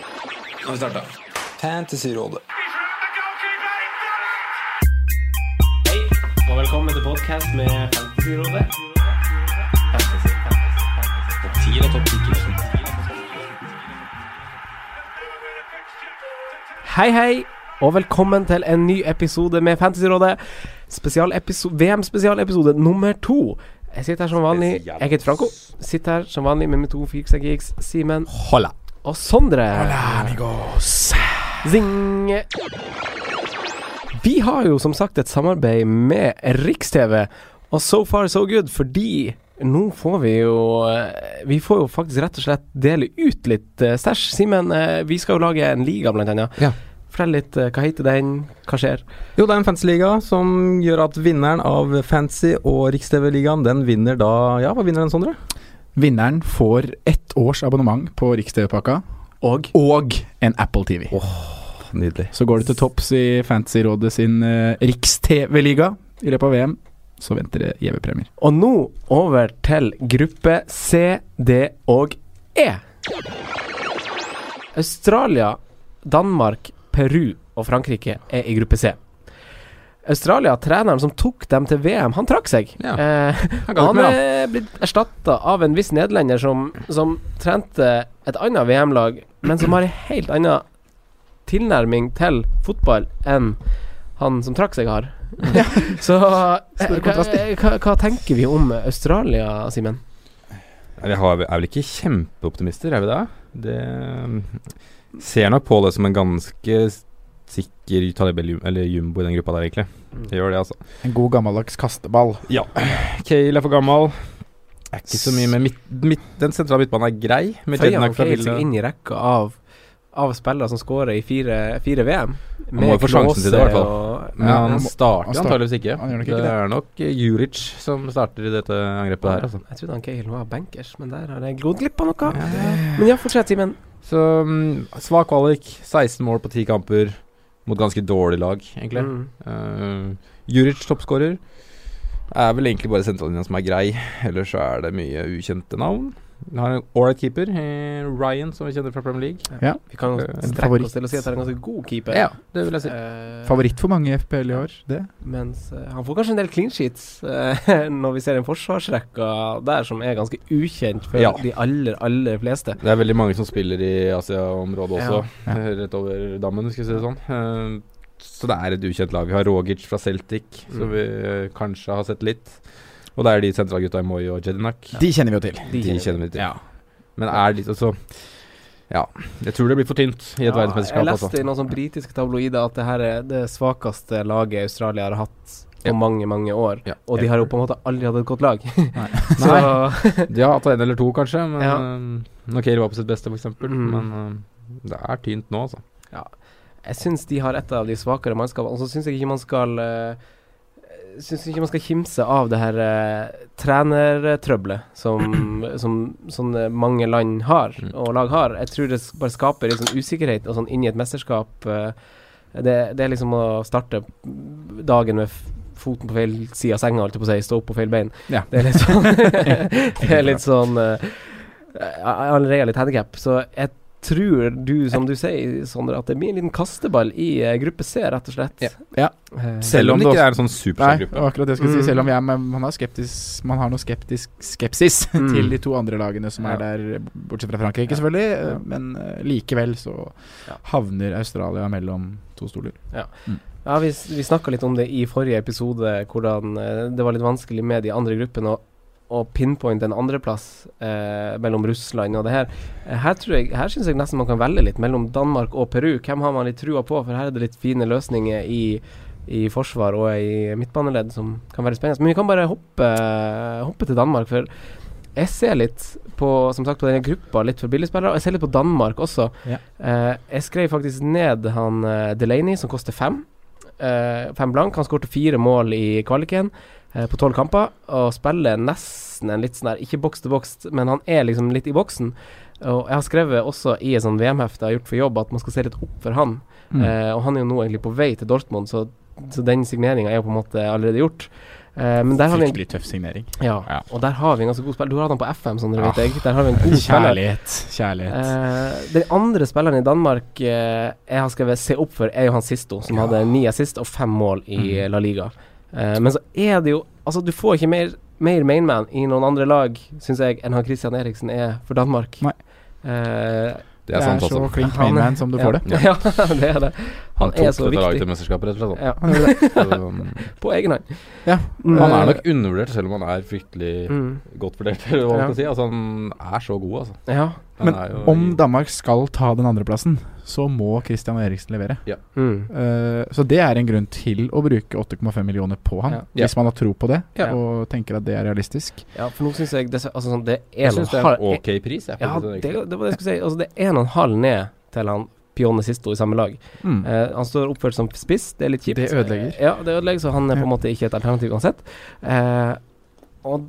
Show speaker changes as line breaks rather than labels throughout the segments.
Nå har vi starta.
Fantasyrådet.
Hei, og velkommen til podcast med Fantasyrådet. Fantasy, fantasy, fantasy. Topp 10 eller topp 10? Hei, hei, og velkommen til en ny episode med Fantasyrådet. Spesialepiso- VM-spesialepisode nummer to. Jeg sitter her som vanlig. Jeg heter Franco. Sitter her som vanlig med mine to firksa geeks, Simen
Hola.
og Sondre. Zing! Vi har jo som sagt et samarbeid med Riks-TV, og so far so good, fordi nå får vi jo eh, Vi får jo faktisk rett og slett dele ut litt eh, stæsj. Simen, eh, vi skal jo lage en liga, blant annet.
Ja.
Fortell litt, eh, hva heter den, hva skjer?
Jo, det er en fantasy-liga som gjør at vinneren av Fantasy og Rikstv-ligaen, den vinner da Ja, hva vinner den, Sondre?
Vinneren får ett års abonnement på Rikstv-pakka
Og
og en Apple TV.
Nydelig.
Så går det til topps i Fantasyrådet sin eh, Rikstv-liga i løpet av VM. Så venter det gjeve premier.
Og nå over til gruppe C, D og E. Australia, Danmark, Peru og Frankrike er i gruppe C. Australia, treneren som tok dem til VM, han trakk seg.
Ja.
Eh,
ga
han
ikke mer,
er blitt erstatta av en viss nederlender som, som trente et annet VM-lag, men som har en helt annen tilnærming til fotball enn han som trakk seg, har. Så eh,
Stor
hva,
kontrast,
hva, hva tenker vi om Australia, Simen?
Vi har, er vel ikke kjempeoptimister, er vi det? Det mm, ser nok på det som en ganske s- sikker Talib eller Jum- eller Jumbo i den gruppa der, egentlig. Det gjør det, altså.
En god gammeldags kasteball.
Kale er for gammel. Er ikke så mye med midt, midt, Den sentrale midtbanen er grei. Med
Føyer han
Jednak fra
Kale seg
Ville.
inn i rekka av, av spillere som skårer i fire, fire VM?
må jo få sjansen til det, i hvert fall.
og-
Men
Ja,
han
han må-
starter
han starter-
antageligvis ikke.
han gjør nok ikke
det,
det.
er nok eh, Juric som starter i dette angrepet her, altså.
Jeg trodde han Kale var bankers, men der har jeg gått glipp av noe. Men ja, fortsett, Simen.
Så mm, svak kvalik. 16 mål på 10 kamper mot ganske dårlig lag, egentlig.
Mm.
Eh, Juric toppskårer. Er vel egentlig bare sentrallinja som er grei, ellers så er det mye ukjente navn. Vi har en ålreit keeper, eh, Ryan, som vi kjenner fra Premier League.
Vi kan jo
Eh,
strekke
favoritt.
oss til å si at det er en ganske god keeper.
Ja, det vil jeg si.
Eh,
Favoritt for mange i FPL i år, det.
Mens eh, han får kanskje en del clean sheets eh, når vi ser en forsvarsrekka der som er ganske ukjent for
Ja.
de aller, aller fleste.
Det er veldig mange som spiller i Asia-området også,
Ja.
eh, rett over dammen, skal vi si det sånn. Eh, så det er et ukjent lag. Vi har Rogic fra Celtic, som
Mm.
vi eh, kanskje har sett litt. Og det er de sentralgutta i Moi og Jedinak.
De kjenner vi jo til.
De kjenner vi til.
Ja.
Men er litt altså Ja. Jeg tror det blir for tynt i et verdensmesterskap.
Jeg
Altså.
leste i noen sånne britiske tabloider at det her er det svakeste laget Australia har hatt på
Ja.
mange, mange år.
Ja.
Og de har jo på en måte aldri hatt et godt lag. Så
Nei, de har hatt en eller to, kanskje. Men
Ja.
eh, når Kale var på sitt beste, f.eks.
Mm.
Men eh, det er tynt nå, altså.
jeg syns de har et av de svakere mannskapene. Og så syns jeg ikke man skal eh, Syns ikke man skal kimse av det her eh, trenertrøbbelet som, som sånne mange land har,
Mm.
og lag har. Jeg tror det s- bare skaper litt sånn usikkerhet og sånn inn i et mesterskap. eh, det, det er liksom å starte dagen med f- foten på feil side av senga, holdt jeg på å si, stå opp på feil bein.
Ja.
Det er litt sånn Det er litt sånn eh, Jeg har allerede litt handikap, så jeg tror du, som du sier, Sondre, at det blir en liten kasteball i eh, gruppe C, rett og slett.
Ja.
Ja.
Eh,
Selv om det ikke er en sånn
Nei,
superstor
det
gruppe.
var akkurat det jeg skulle
Mm.
si. Selv om jeg, men man, har skeptisk, man har noe skeptisk skepsis
Mm.
til de to andre lagene som
Ja.
er der, bortsett fra Frankrike, selvfølgelig. eh, Men eh, likevel så
Ja.
havner Australia mellom to stoler.
Ja, vi, s- vi snakka litt om det i forrige episode, hvordan eh, det var litt vanskelig med de andre gruppene å, å pinpointe en andreplass eh, mellom Russland og det her. Eh, Her, tror jeg, her syns jeg nesten man kan velge litt mellom Danmark og Peru. Hvem har man litt trua på? For her er det litt fine løsninger i, i forsvar og i midtbaneledd som kan være spennende. Men vi kan bare hoppe, hoppe til Danmark, for jeg ser litt på som sagt, på denne gruppa litt for billigspillere, og jeg ser litt på Danmark også.
Ja.
Eh, jeg skrev faktisk ned han eh, Delaney, som koster fem. Eh, fem blank. Han skårte fire mål i kvaliken eh, på tolv kamper, og spiller nesten en litt sånn der Ikke boks til boks, men han er liksom litt i boksen. Og jeg har skrevet også i et sånn VM-hefte jeg har gjort for jobb, at man skal se litt opp for han.
Mm.
Eh, og han er jo nå egentlig på vei til Dortmund, så, så den signeringa er jo på en måte allerede gjort. Eh, men der har vi en
Fryktelig tøff signering.
ja,
Ja.
og der har vi en ganske god spiller. Du har hatt han på FM, som dere
Ah,
vet. Jeg. Der har vi en god spiller.
Kjærlighet. Kjærlighet.
Eh, den andre spilleren i Danmark eh, jeg har skrevet 'se opp for', er jo han Sisto, som
Ja.
hadde ni assist og fem mål i
Mhm.
La Liga. Eh, men så er det jo Altså, du får ikke mer, mer mainman i noen andre lag, syns jeg, enn han Christian Eriksen er for Danmark.
Nei.
Eh,
Det er sant,
så
altså.
klink
Han er-
mainman som du får det.
ja. det er det. Han,
Han tok
er så
dette laget
viktig.
til mesterskapet, rett og slett.
Ja,
Han,
på egen hånd.
Ja,
Mm.
han er nok undervurdert, selv om han er fryktelig
Mm.
godt vurdert, eller hva man
Ja.
skal si. Altså, han er så god, altså.
Ja.
Han
Men
er jo
Om Danmark skal ta den andreplassen, så må Christian Eriksen levere.
Mm.
Eh, så det er en grunn til å bruke 8,5 millioner på han,
Ja.
hvis man har tro på det
Ja.
og tenker at det er realistisk.
ja, for nå syns jeg det, altså, sånn, det er
Jeg
en
syns det er en ok pris, jeg.
Ja,
på
det,
Christian
det
Eriksen.
var det jeg skulle si. Altså, det er en og en halv ned til han Pione Sisto i samme lag.
Mm.
Eh, han står oppført som spiss, det er litt kjipt.
Det ødelegger.
Eh, ja, det ødelegger, så han er på en
Ja.
måte ikke et alternativ uansett. Eh, og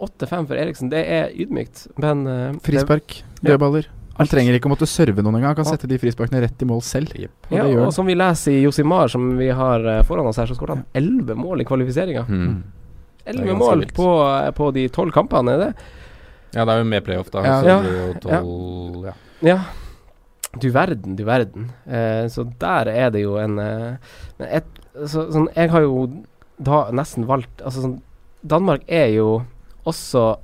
8-5 for Eriksen, det er ydmykt, men eh, det-
Frispark,
Ja.
dødballer. Han trenger ikke å måtte serve noen engang. Han kan
Ja.
sette de frisparkene rett i mål selv. Og
Ja,
det gjør
og
han.
som vi leser i Josimar, som vi har eh, foran oss her, så skåret han 11 mål i kvalifiseringa.
Mm. er
11
ganske
mål
vilt.
på, eh, på de 12 kampene, er det?
Ja, det er jo med playoff, da.
Ja.
Så
Ja.
det blir jo tolv ja.
Ja. Du verden, du verden. Eh, så der er det jo en eh, Men et, så, sånn, jeg har jo da nesten valgt Altså sånn Danmark er jo også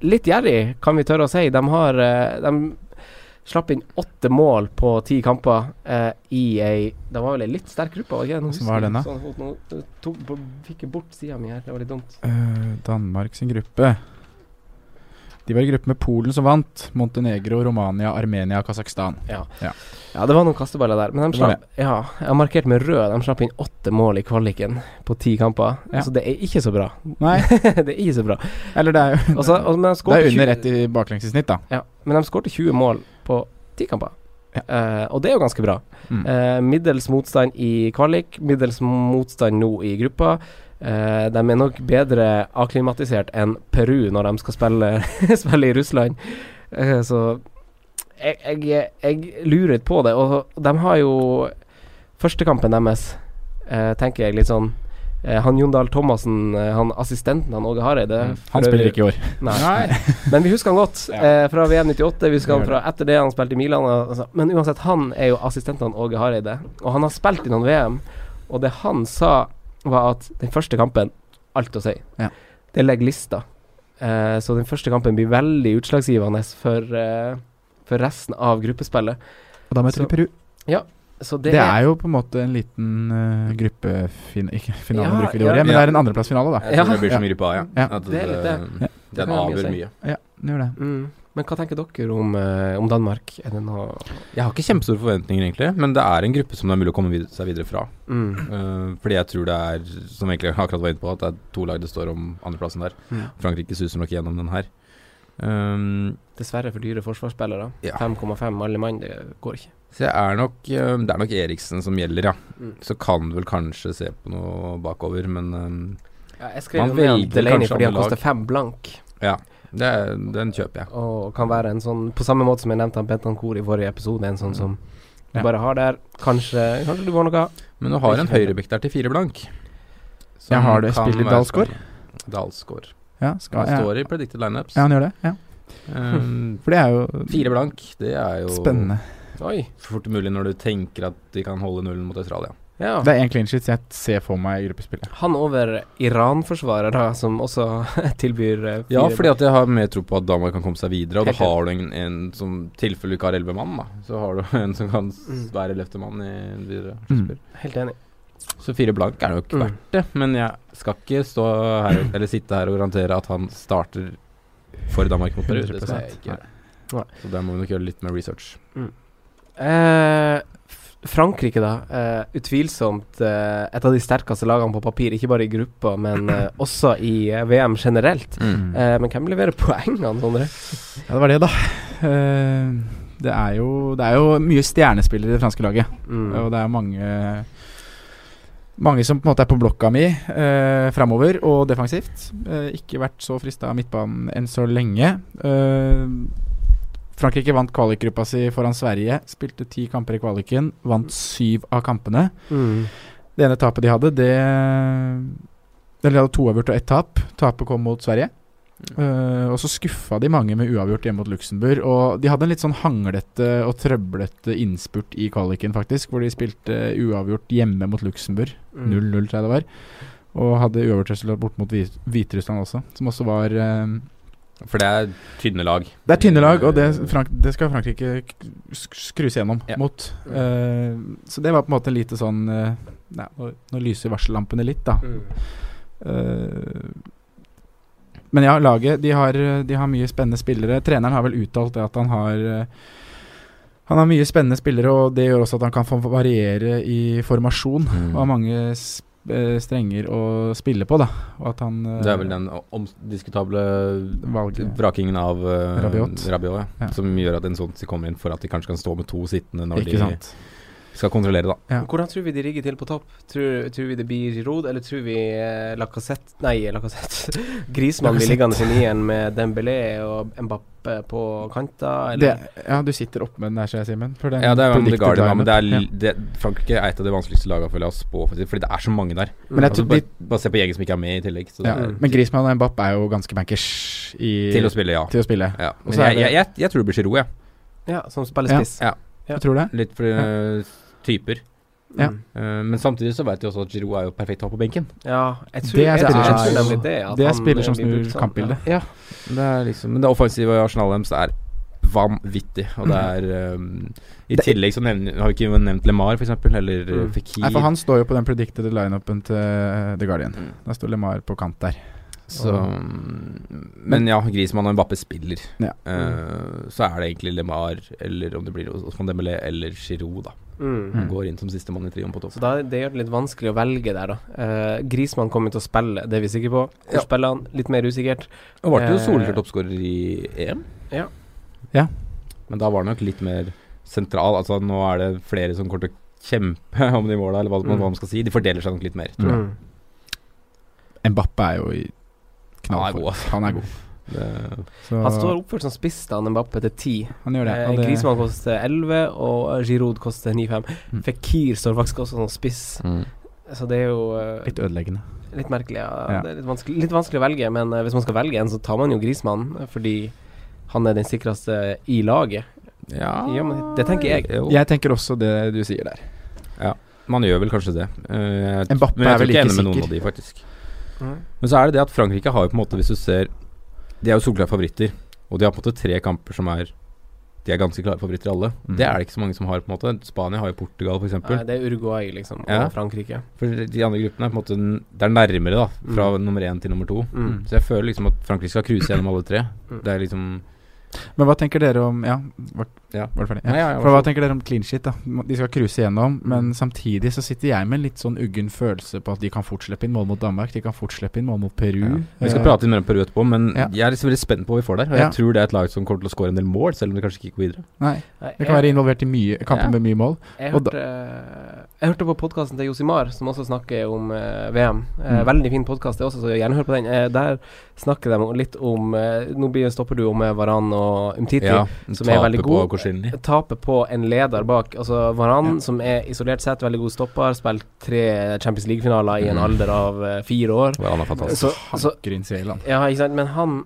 litt gjerrig, kan vi tørre å si. De har eh, De slapp inn åtte mål på ti kamper eh, i ei Det var vel ei litt sterk gruppe, var det ikke? Nå
Hvordan
husker
var
jeg
den da?
Sånn, fot- nå, eh, tok, på- fikk jeg bort sida mi her, det var litt dumt.
Eh, Danmark sin gruppe De var i gruppe med Polen som vant. Montenegro, Romania, Armenia, Kasakhstan.
Ja, det var noen kasteballer der. Men de
Det var
slapp, ja, jeg har markert med rød. De slapp inn åtte mål i kvaliken på ti kamper.
Ja.
Så det er ikke så bra.
Nei,
det er ikke så bra.
eller det er jo
Og så- og, men de
Det
skårte
er under
20
rett i baklengs i snitt, da.
Ja, men de skårte 20 mål på ti kamper.
Ja.
Eh, og det er jo ganske bra.
Mm.
Eh, middels motstand i kvalik, middels motstand nå i gruppa. Eh, de er nok bedre akklimatisert enn Peru når de skal spille, spille i Russland. Eh, så jeg, jeg, jeg lurer litt på det. Og de har jo førstekampen deres, eh, tenker jeg litt sånn eh, Han Jondal Thomassen, eh, han assistenten han Åge Hareide
Mm. Han spiller ikke i år.
Nei. Men vi husker han godt eh, fra VM 98. Vi husker han
Det gjør
fra etter det han spilte i Milan. og- Altså. Men uansett, han er jo assistenten Åge Hareide, og han har spilt i noen VM. Og det han sa, var at den første kampen Alt å si.
Ja.
Det legger lista. Eh, så den første kampen blir veldig utslagsgivende for, eh, for resten av gruppespillet.
Og da møter
Så-
vi Peru.
Så det,
Det er jo på en måte en liten eh, gruppefin... Ikke finale,
Ja,
bruker vi det
ja.
ordet, men
Ja.
det er en andreplassfinale, da.
Jeg tror
Ja.
det blir som
Ja.
i gruppe A, ja.
Ja.
At
Det er litt det.
eh,
Det
Den
har mye å
avgjør
si.
mye.
Ja, det gjør det.
mm. Men hva tenker dere om, eh, om Danmark? Er det noe
Jeg har ikke kjempestore forventninger, egentlig, men det er en gruppe som det er mulig å komme vid seg videre fra.
mm.
Eh, fordi jeg tror det er, som jeg egentlig akkurat var inne på, at det er to lag det står om andreplassen der.
Mm.
Frankrike suser nok gjennom den her. Um,
Dessverre for dyre forsvarsspillere.
Ja.
5,5 alle mann, det går ikke.
så jeg er nok, eh, det er nok Eriksen som gjelder, ja.
Mm.
Så kan vel kanskje se på noe bakover, men eh,
Ja, jeg skrev
Man
jo ned
velger
Delaney
kanskje
fordi han
andre
koster fem blank,
det er, den kjøper jeg.
og kan være en sånn På samme måte som jeg nevnte han Bentancour i forrige episode, en
Mm.
sånn som du
Ja.
bare har der. Kanskje, kanskje du får noe.
Men du har en høyrebekk der til fire blank. som
Jeg har det.
kan
Spiller
være
Dalsgaard?
spennende. Dalsgaard.
Ja,
Han
skal, ja.
står i predicted lineups.
ja, han gjør det. Ja.
Um,
For det er jo
fire blank, det er jo
spennende.
Oi.
så fort som mulig når du tenker at de kan holde nullen mot Australia.
Ja.
Det er én clean sheet jeg ser for meg i gruppespillet.
Han over Iran-forsvarer, da, som også tilbyr eh,
Ja,
fire-
fordi at jeg har mer tro på at Danmark kan komme seg videre. Og da
Helt enig.
har du en, en som tilfelle du ikke har elleve mann, da. Så har du en som kan s-
Mm.
være løftemann i videre.
Mm.
Helt enig.
Så fire blank er nok
Mm.
verdt det. Men jeg skal ikke stå her og- eller sitte her og garantere at han starter for Danmark mot Peru. Det skal jeg
100%.
ikke gjøre.
Nei.
Så der må vi nok gjøre litt mer research.
Eh, F- Frankrike, da. Eh, utvilsomt eh, et av de sterkeste lagene på papir, ikke bare i gruppa, men eh, også i eh, VM generelt.
Mm.
Eh, men hvem leverer poengene, Sondre?
Ja, det var det, da. Eh, det, er jo, det er jo mye stjernespillere i det franske laget.
Mm.
Og det er mange Mange som på en måte er på blokka mi eh, framover og defensivt. Eh, ikke vært så frista av midtbanen enn så lenge. Eh, Frankrike vant kvalikgruppa si foran Sverige. Spilte ti kamper i kvaliken, vant syv av kampene.
Mm.
Det ene tapet de hadde, det Eller de hadde to avgjort og ett tap. Tapet kom mot Sverige. Eh, og så skuffa de mange med uavgjort hjemme mot Luxembourg. Og de hadde en litt sånn hanglete og trøblete innspurt i kvaliken, faktisk, hvor de spilte uavgjort hjemme mot Luxembourg.
Mm.
0-0, tror jeg det var. Og hadde uavgjort resultat bort mot Hvit- Hviterussland også, som også var eh,
For det er tynne lag. Mm.
det er
Eh,
tynne lag, og det, Frank, det skal Frankrike k- sk- skrus gjennom
Ja.
mot. Eh, så det var på en måte lite sånn eh, ja, nå- Nå lyser varsellampene litt,
Mm.
da. Eh, men ja, laget de har, de har mye spennende spillere. Treneren har vel uttalt det at han har eh, Han har mye spennende spillere, og det gjør også at han kan få variere i formasjon.
Mm.
Og har mange sp eh, strenger å spille på, da. Og at han eh,
Det er vel den omdiskutable
Valget.
vrakingen av eh,
Rabiot.
ja.
Ja.
Som gjør at en sånn kommer inn for at de kanskje kan stå med to sittende når
Ikke sant.
de skal kontrollere, da.
Ja.
Hvordan tror vi de rigger til på topp? Tror, tror vi det blir Giroud, eller tror vi eh, Lacassette Nei, Lacassette. Griezmann blir liggende i nieren med Dembélé og Mbappé på kanter.
Det,
Eller?
ja, du sitter oppe med den der, ser jeg, Simen. for den
Ja, det er jo om The
predicted
Guardian, da, men det er,
lineup.
li- det, Frankrike er et av de vanskeligste lagene for å spå, for å si det, fordi det er så mange der.
Men jeg
Altså,
tror
bare,
de,
bare se på Jeger som ikke er med i tillegg. Så
ja.
det er-
Men Griezmann og Mbapp er jo ganske bankers i,
Til å spille, ja.
til å spille.
ja.
Og
Men
så er
jeg,
det-
jeg, jeg, jeg tror det blir Giroud, jeg.
Ja, som spiller
Ja.
spiss.
Ja.
Ja.
Jeg tror det.
Litt for eh, typer.
Ja.
Mm.
Eh, men samtidig så vet vi også at Giroud er jo perfekt å ha på benken.
ja jeg tror,
Det
jeg,
er
tror-
spiller
jeg
som-
tror nemlig det. at
Det er
han,
spiller som
eh, blir
snur
brukt sånn.
kampbildet.
Det er liksom, men det offensive i Arsenal deres er vanvittig. Og det er um, I
Det-
tillegg så nevner, har vi ikke nevnt LeMar, for eksempel, eller uh,
Mm.
Fikir.
Nei, for han står jo på den predicted lineupen til eh, The Guardian.
Mm.
Da står LeMar på kant der.
så, um, men ja, Griezmann og Mbappe spiller.
Ja.
Eh, så er det egentlig LeMar, eller om det blir Osman Dembélé eller Giroud, da.
Mm.
Mm.
Går inn som sistemann i trioen på topp.
Så da, det gjør det litt vanskelig å velge der, da. Eh, Grismann kommer til å spille, det er vi sikre på. Hvor
Ja.
spiller han? Litt mer usikkert.
Og ble jo
Eh,
soleklar toppskårer i EM.
Ja.
Ja.
Men da var han nok litt mer sentral. Altså Nå er det flere som kommer til å kjempe om de måla, eller hva,
Mm.
hva man skal si. De fordeler seg nok litt mer.
Tror jeg.
Mm.
Mbappe er jo i
Han er god,
knallform. Han er god.
Det-
Så
Han står oppført som spiss, da, Mbappé, til ti.
han gjør det.
Eh,
og det-
Griezmann koster 11, og Giroud koster 9,5.
Mm.
Fikir står faktisk også som spiss, så det er jo eh,
Litt ødeleggende.
litt merkelig. Ja.
Ja.
Det er litt vanskelig, litt vanskelig å velge, men eh, hvis man skal velge en, så tar man jo Grismann, eh, fordi han er den sikreste i laget.
Ja,
Ja, men det tenker jeg.
Jo.
Jeg tenker også det du sier der.
Man gjør vel kanskje det. Eh, jeg-
Mbappé
men jeg
er
tror
vel
ikke jeg er
ikke
enig med noen
sikker.
av de, faktisk.
Eh,
Men så er det det at Frankrike har jo på en måte, hvis du ser De er jo soleklare favoritter, og de har på en måte tre kamper som er De er ganske klare favoritter alle.
Mm.
Det er det ikke så mange som har, på en måte. Spania har jo Portugal, f.eks.
Nei, det er Uruguay, liksom,
Ja.
og Frankrike.
For de andre gruppene er på en måte n- Det er nærmere, da. Fra nummer én til nummer to.
Mm.
Så jeg føler liksom at Frankrike skal cruise gjennom alle tre.
Mm.
Det er liksom
Men hva tenker dere om Ja, var,
Ja.
var det ferdig?
Nei, ja, ja,
For
vær
hva
så Mm.
tenker dere om clean shit? da? De skal cruise igjennom, men samtidig så sitter jeg med en litt sånn uggen følelse på at de kan fort slippe inn mål mot Danmark, de kan fort slippe inn mål mot Peru.
Ja. Vi skal
Eh,
prate mer om Peru etterpå, men
Ja.
jeg er liksom veldig spent på hva vi får der. Og jeg
Ja.
tror det er et lag som kommer til å score en del mål, selv om de kanskje ikke går videre.
Eh, Nei,
Nei,
det kan være involvert i mye
Ja.
kamper med mye mål.
Jeg
Og
hørte, jeg hørte på podkasten til Josimar, som også snakker om eh, VM. Eh,
Mm.
Veldig fin podkast, det også, så gjerne hør på den. Eh, der snakker de om- litt om eh, Nå blir- stopper du jo med Varan og Umtiti. som er veldig
på
god.
Korsinli.
Taper på en leder bak. Altså Varan,
Ja.
som er isolert sett veldig god stopper, spilt tre Champions League-finaler i en
Mm.
alder av eh, fire år.
Ja, han er
Altså,
fantastisk.
Så, så
Hanker inn Seeland.
Ja, ikke sant. Men han,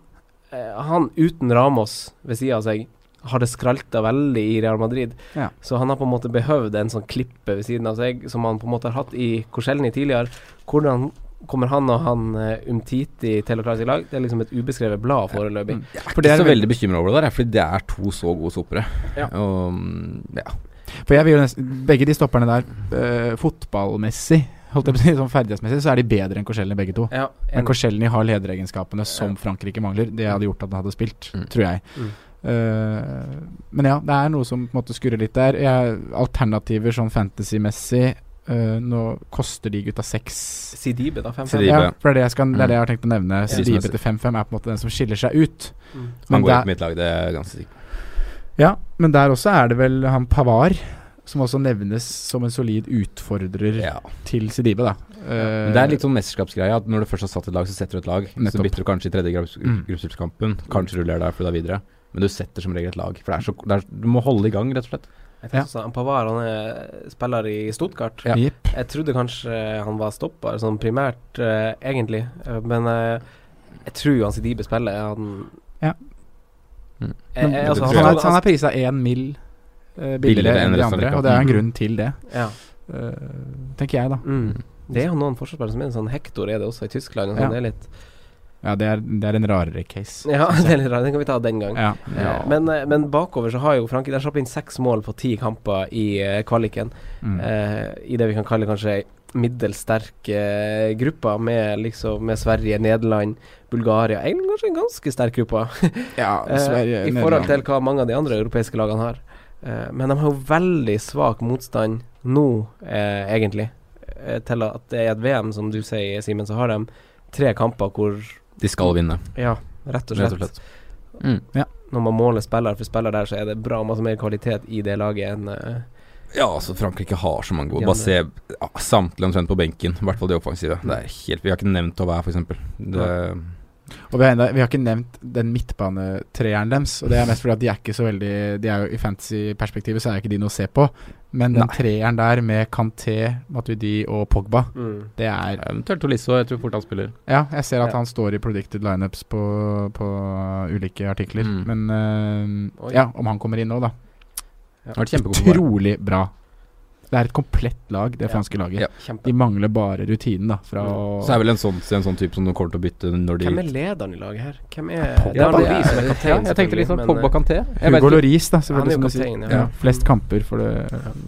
eh, han uten Ramos ved sida av seg har det skralta veldig i Real Madrid.
Ja.
Så han har på en måte behøvd en sånn klippe ved siden av seg, som han på en måte har hatt i Korselny tidligere. Hvordan kommer han og han eh, Umtiti til å klare seg i lag? Det er liksom et ubeskrevet blad foreløpig.
Mm.
For det er så veldig bekymra over det der, er fordi det er to så gode stoppere.
Ja.
Og, mm, ja.
For jeg vil jo nesten, Begge de stopperne der, eh, fotballmessig, holdt jeg på å si, sånn ferdighetsmessig, så er de bedre enn Korselny begge to.
Ja,
Men
en,
Korselny har lederegenskapene som
Ja.
Frankrike mangler. Det hadde gjort at han hadde spilt,
Mm.
tror jeg.
Mm.
Eh, men ja, det er noe som på en måte skurrer litt der. Jeg, alternativer sånn fantasy-messig eh, Nå koster de gutta seks.
Sidibe, da. 5-5.
Sidibe.
Ja, for det er, det, jeg skal, det er det jeg har tenkt å nevne.
Ja.
Sidibe til 5-5 er på en måte den som skiller seg ut.
Mm.
Han
Men
går
der-
ut på mitt lag, det er jeg ganske sikkert.
ja, men der også er det vel han Pavar som også nevnes som en solid utfordrer
Ja.
til Sidibe, da. Eh,
Men det er litt sånn mesterskapsgreie at når du først har satt et lag, så setter du et lag.
Nettopp.
Så bytter du kanskje i tredje grupps-
Mm.
gruppespillkampen. Kanskje rullerer der for deg videre. Men du setter som regel et lag. For det er så, det er, du må holde i gang, rett og slett.
Jeg
Ja.
tenkte sånn, Pavard han er spiller i Stuttgart.
Ja. Jepp.
Jeg trodde kanskje han var stopper, sånn primært, eh, egentlig. Eh, men eh, jeg tror jo han Sidibe spiller. Han
Ja.
Mm.
jeg, jeg, altså,
tror
han,
jeg.
er, han er prisa én mill. eh, billigere
Billigere enn
enn de
resten av
andre,
ligaen. Mm.
og det er en grunn til det,
ja.
eh, tenker jeg, da.
Mm. Det er jo noen forsvarsspillere som er sånn Hector er det også i Tyskland. Og
Ja.
sånn, det er litt,
Ja, det er, det er en rarere case.
ja, det er litt rart. Den kan vi ta den gang.
Ja.
Eh, Men, eh, men bakover så har jo Frankrike De har slapp inn seks mål på ti kamper i eh, kvaliken.
Mm.
eh, I det vi kan kalle kanskje ei middels sterk eh, gruppe, med, liksom, med Sverige, Nederland, Bulgaria Egentlig kanskje en ganske sterk gruppe,
ja,
eh,
Sverige,
i forhold til hva mange av de andre europeiske lagene har. Eh, men de har jo veldig svak motstand nå, eh, egentlig, eh, til at det er et VM, som du sier, Simen, så har de tre kamper hvor
De skal vinne,
Ja, rett og
rett og
slett.
slett. Mm.
Når man måler spiller for spiller der, så er det bra masse mer kvalitet i det laget enn eh,
Ja, altså Frankrike har så mange gode.
Ja,
Bare
det-
se ja, samtlige omtrent på benken. I hvert fall de offensive. Det er helt, vi har ikke nevnt Tauvin, f.eks.
Og vi har, enda, vi har ikke nevnt den midtbanetreeren deres, og det er mest fordi at de er ikke så veldig De er jo I fantasy-perspektivet så er ikke de noe å se på, men den
Nei.
treeren der med Kanté, Matuidi og Pogba, det er
Eventuelt Tolisso. Jeg tror fort han spiller.
Ja, jeg ser at
Ja.
han står i predicted lineups på, på ulike artikler,
Mm.
men eh,
Oi.
Ja, om han kommer inn nå, da.
Han har vært kjempegod. på
Utrolig bra. Det er et komplett lag, det
Ja.
franske laget.
Ja.
De
Kjempe.
mangler bare rutinen, da, fra å
Så er vel en sånn, en sånn type som du kommer til å bytte når de
Hvem er lederen i laget her? Hvem er
Pogba,
Det er
da.
Louis som er kaptein.
Ja, jeg tenkte litt sånn
selvfølgelig, men, eh,
Pogba Kanté. Jeg vet
Hugo
ikke-
Loris, da,
Han er
selvfølgelig.
jo
som du sier.
kaptein, ja.
ja.
Mm.
Flest kamper for, det,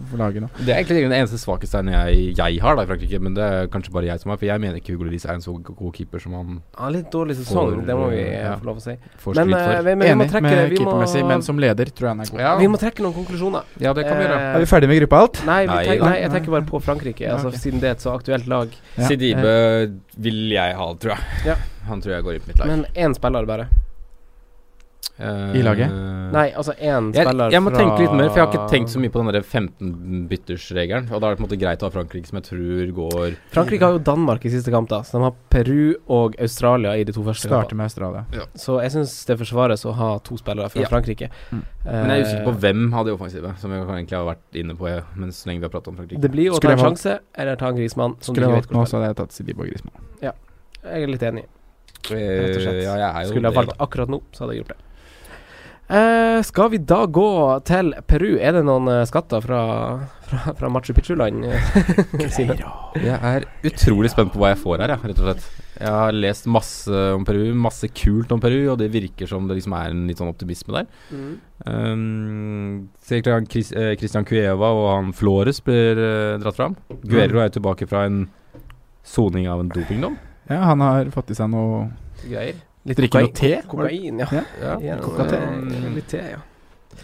for laget nå.
Det er egentlig den eneste svakhetstegnet jeg, jeg har da i Frankrike, men det er kanskje bare jeg som har, for jeg mener ikke Hugo Lloris er en så god keeper som han
eh, han har litt dårlig sesong,
For,
det må vi eh,
ja.
få lov å si.
får
Men,
skryt
eh,
for.
vi, men vi må
Enig
trekke
med
vi må,
keepermessig, men som leder tror jeg han er god.
Ja,
vi må trekke noen konklusjoner. Eh,
ja, det kan vi gjøre.
Er vi ferdige med gruppa alt?
Nei, vi
Nei,
tenker,
ja.
nei, jeg tenker bare på Frankrike,
Ja,
altså,
ok.
siden det er et så aktuelt lag.
Ja.
Sidibe vil jeg ha, tror jeg.
eh, Ja.
Han tror jeg går inn på mitt lag.
Men én spiller bare.
Eh,
I laget?
Nei, altså én
Jeg,
spiller
jeg må
fra
tenke litt mer, for jeg har ikke tenkt så mye på den der 15-byttersregelen. Og da er det på en måte greit å ha Frankrike, som jeg tror går
Frankrike har jo Danmark i siste kamp, da. Så de har Peru og Australia i de to første kampene.
Starter med Australia.
Så jeg syns det forsvares å ha to spillere fra
Ja.
Frankrike.
Mm.
Men jeg er usikker på hvem av de offensive, som vi egentlig har vært inne på eh, mens lenge vi har pratet om Frankrike.
Eh, Det blir jo å
Skulle
ta en
jeg valgt-
sjanse, eller ta en grismann. Som du
Skulle jeg
ikke
valgt
vet
nå,
hvor
så
spiller.
hadde jeg tatt Sidibo Grismann.
Jeg er litt enig.
Eh,
rett og slett.
Ja, jeg er jo
Skulle jeg
det,
valgt akkurat nå, så hadde jeg gjort det. Eh, skal vi da gå til Peru? Er det noen eh, skatter fra, fra, fra Machu Picchu-land? eh, Simen?
da. Jeg er utrolig spent på hva jeg får her, jeg, rett og slett. Jeg har lest masse om Peru, masse kult om Peru, og det virker som det liksom er en litt sånn optimisme der.
Mm.
Um, ser klart han Chris, eh, Christian Cueva og han Flores blir eh, dratt fram.
Mm.
Guerrero er jo tilbake fra en soning av en dopingdom.
Ja, han har fått i seg noe
Greier. Litt
Drikke noe
kokain-
te?
Kokain, ja. Ja, eh,
Um,
Litt te, ja.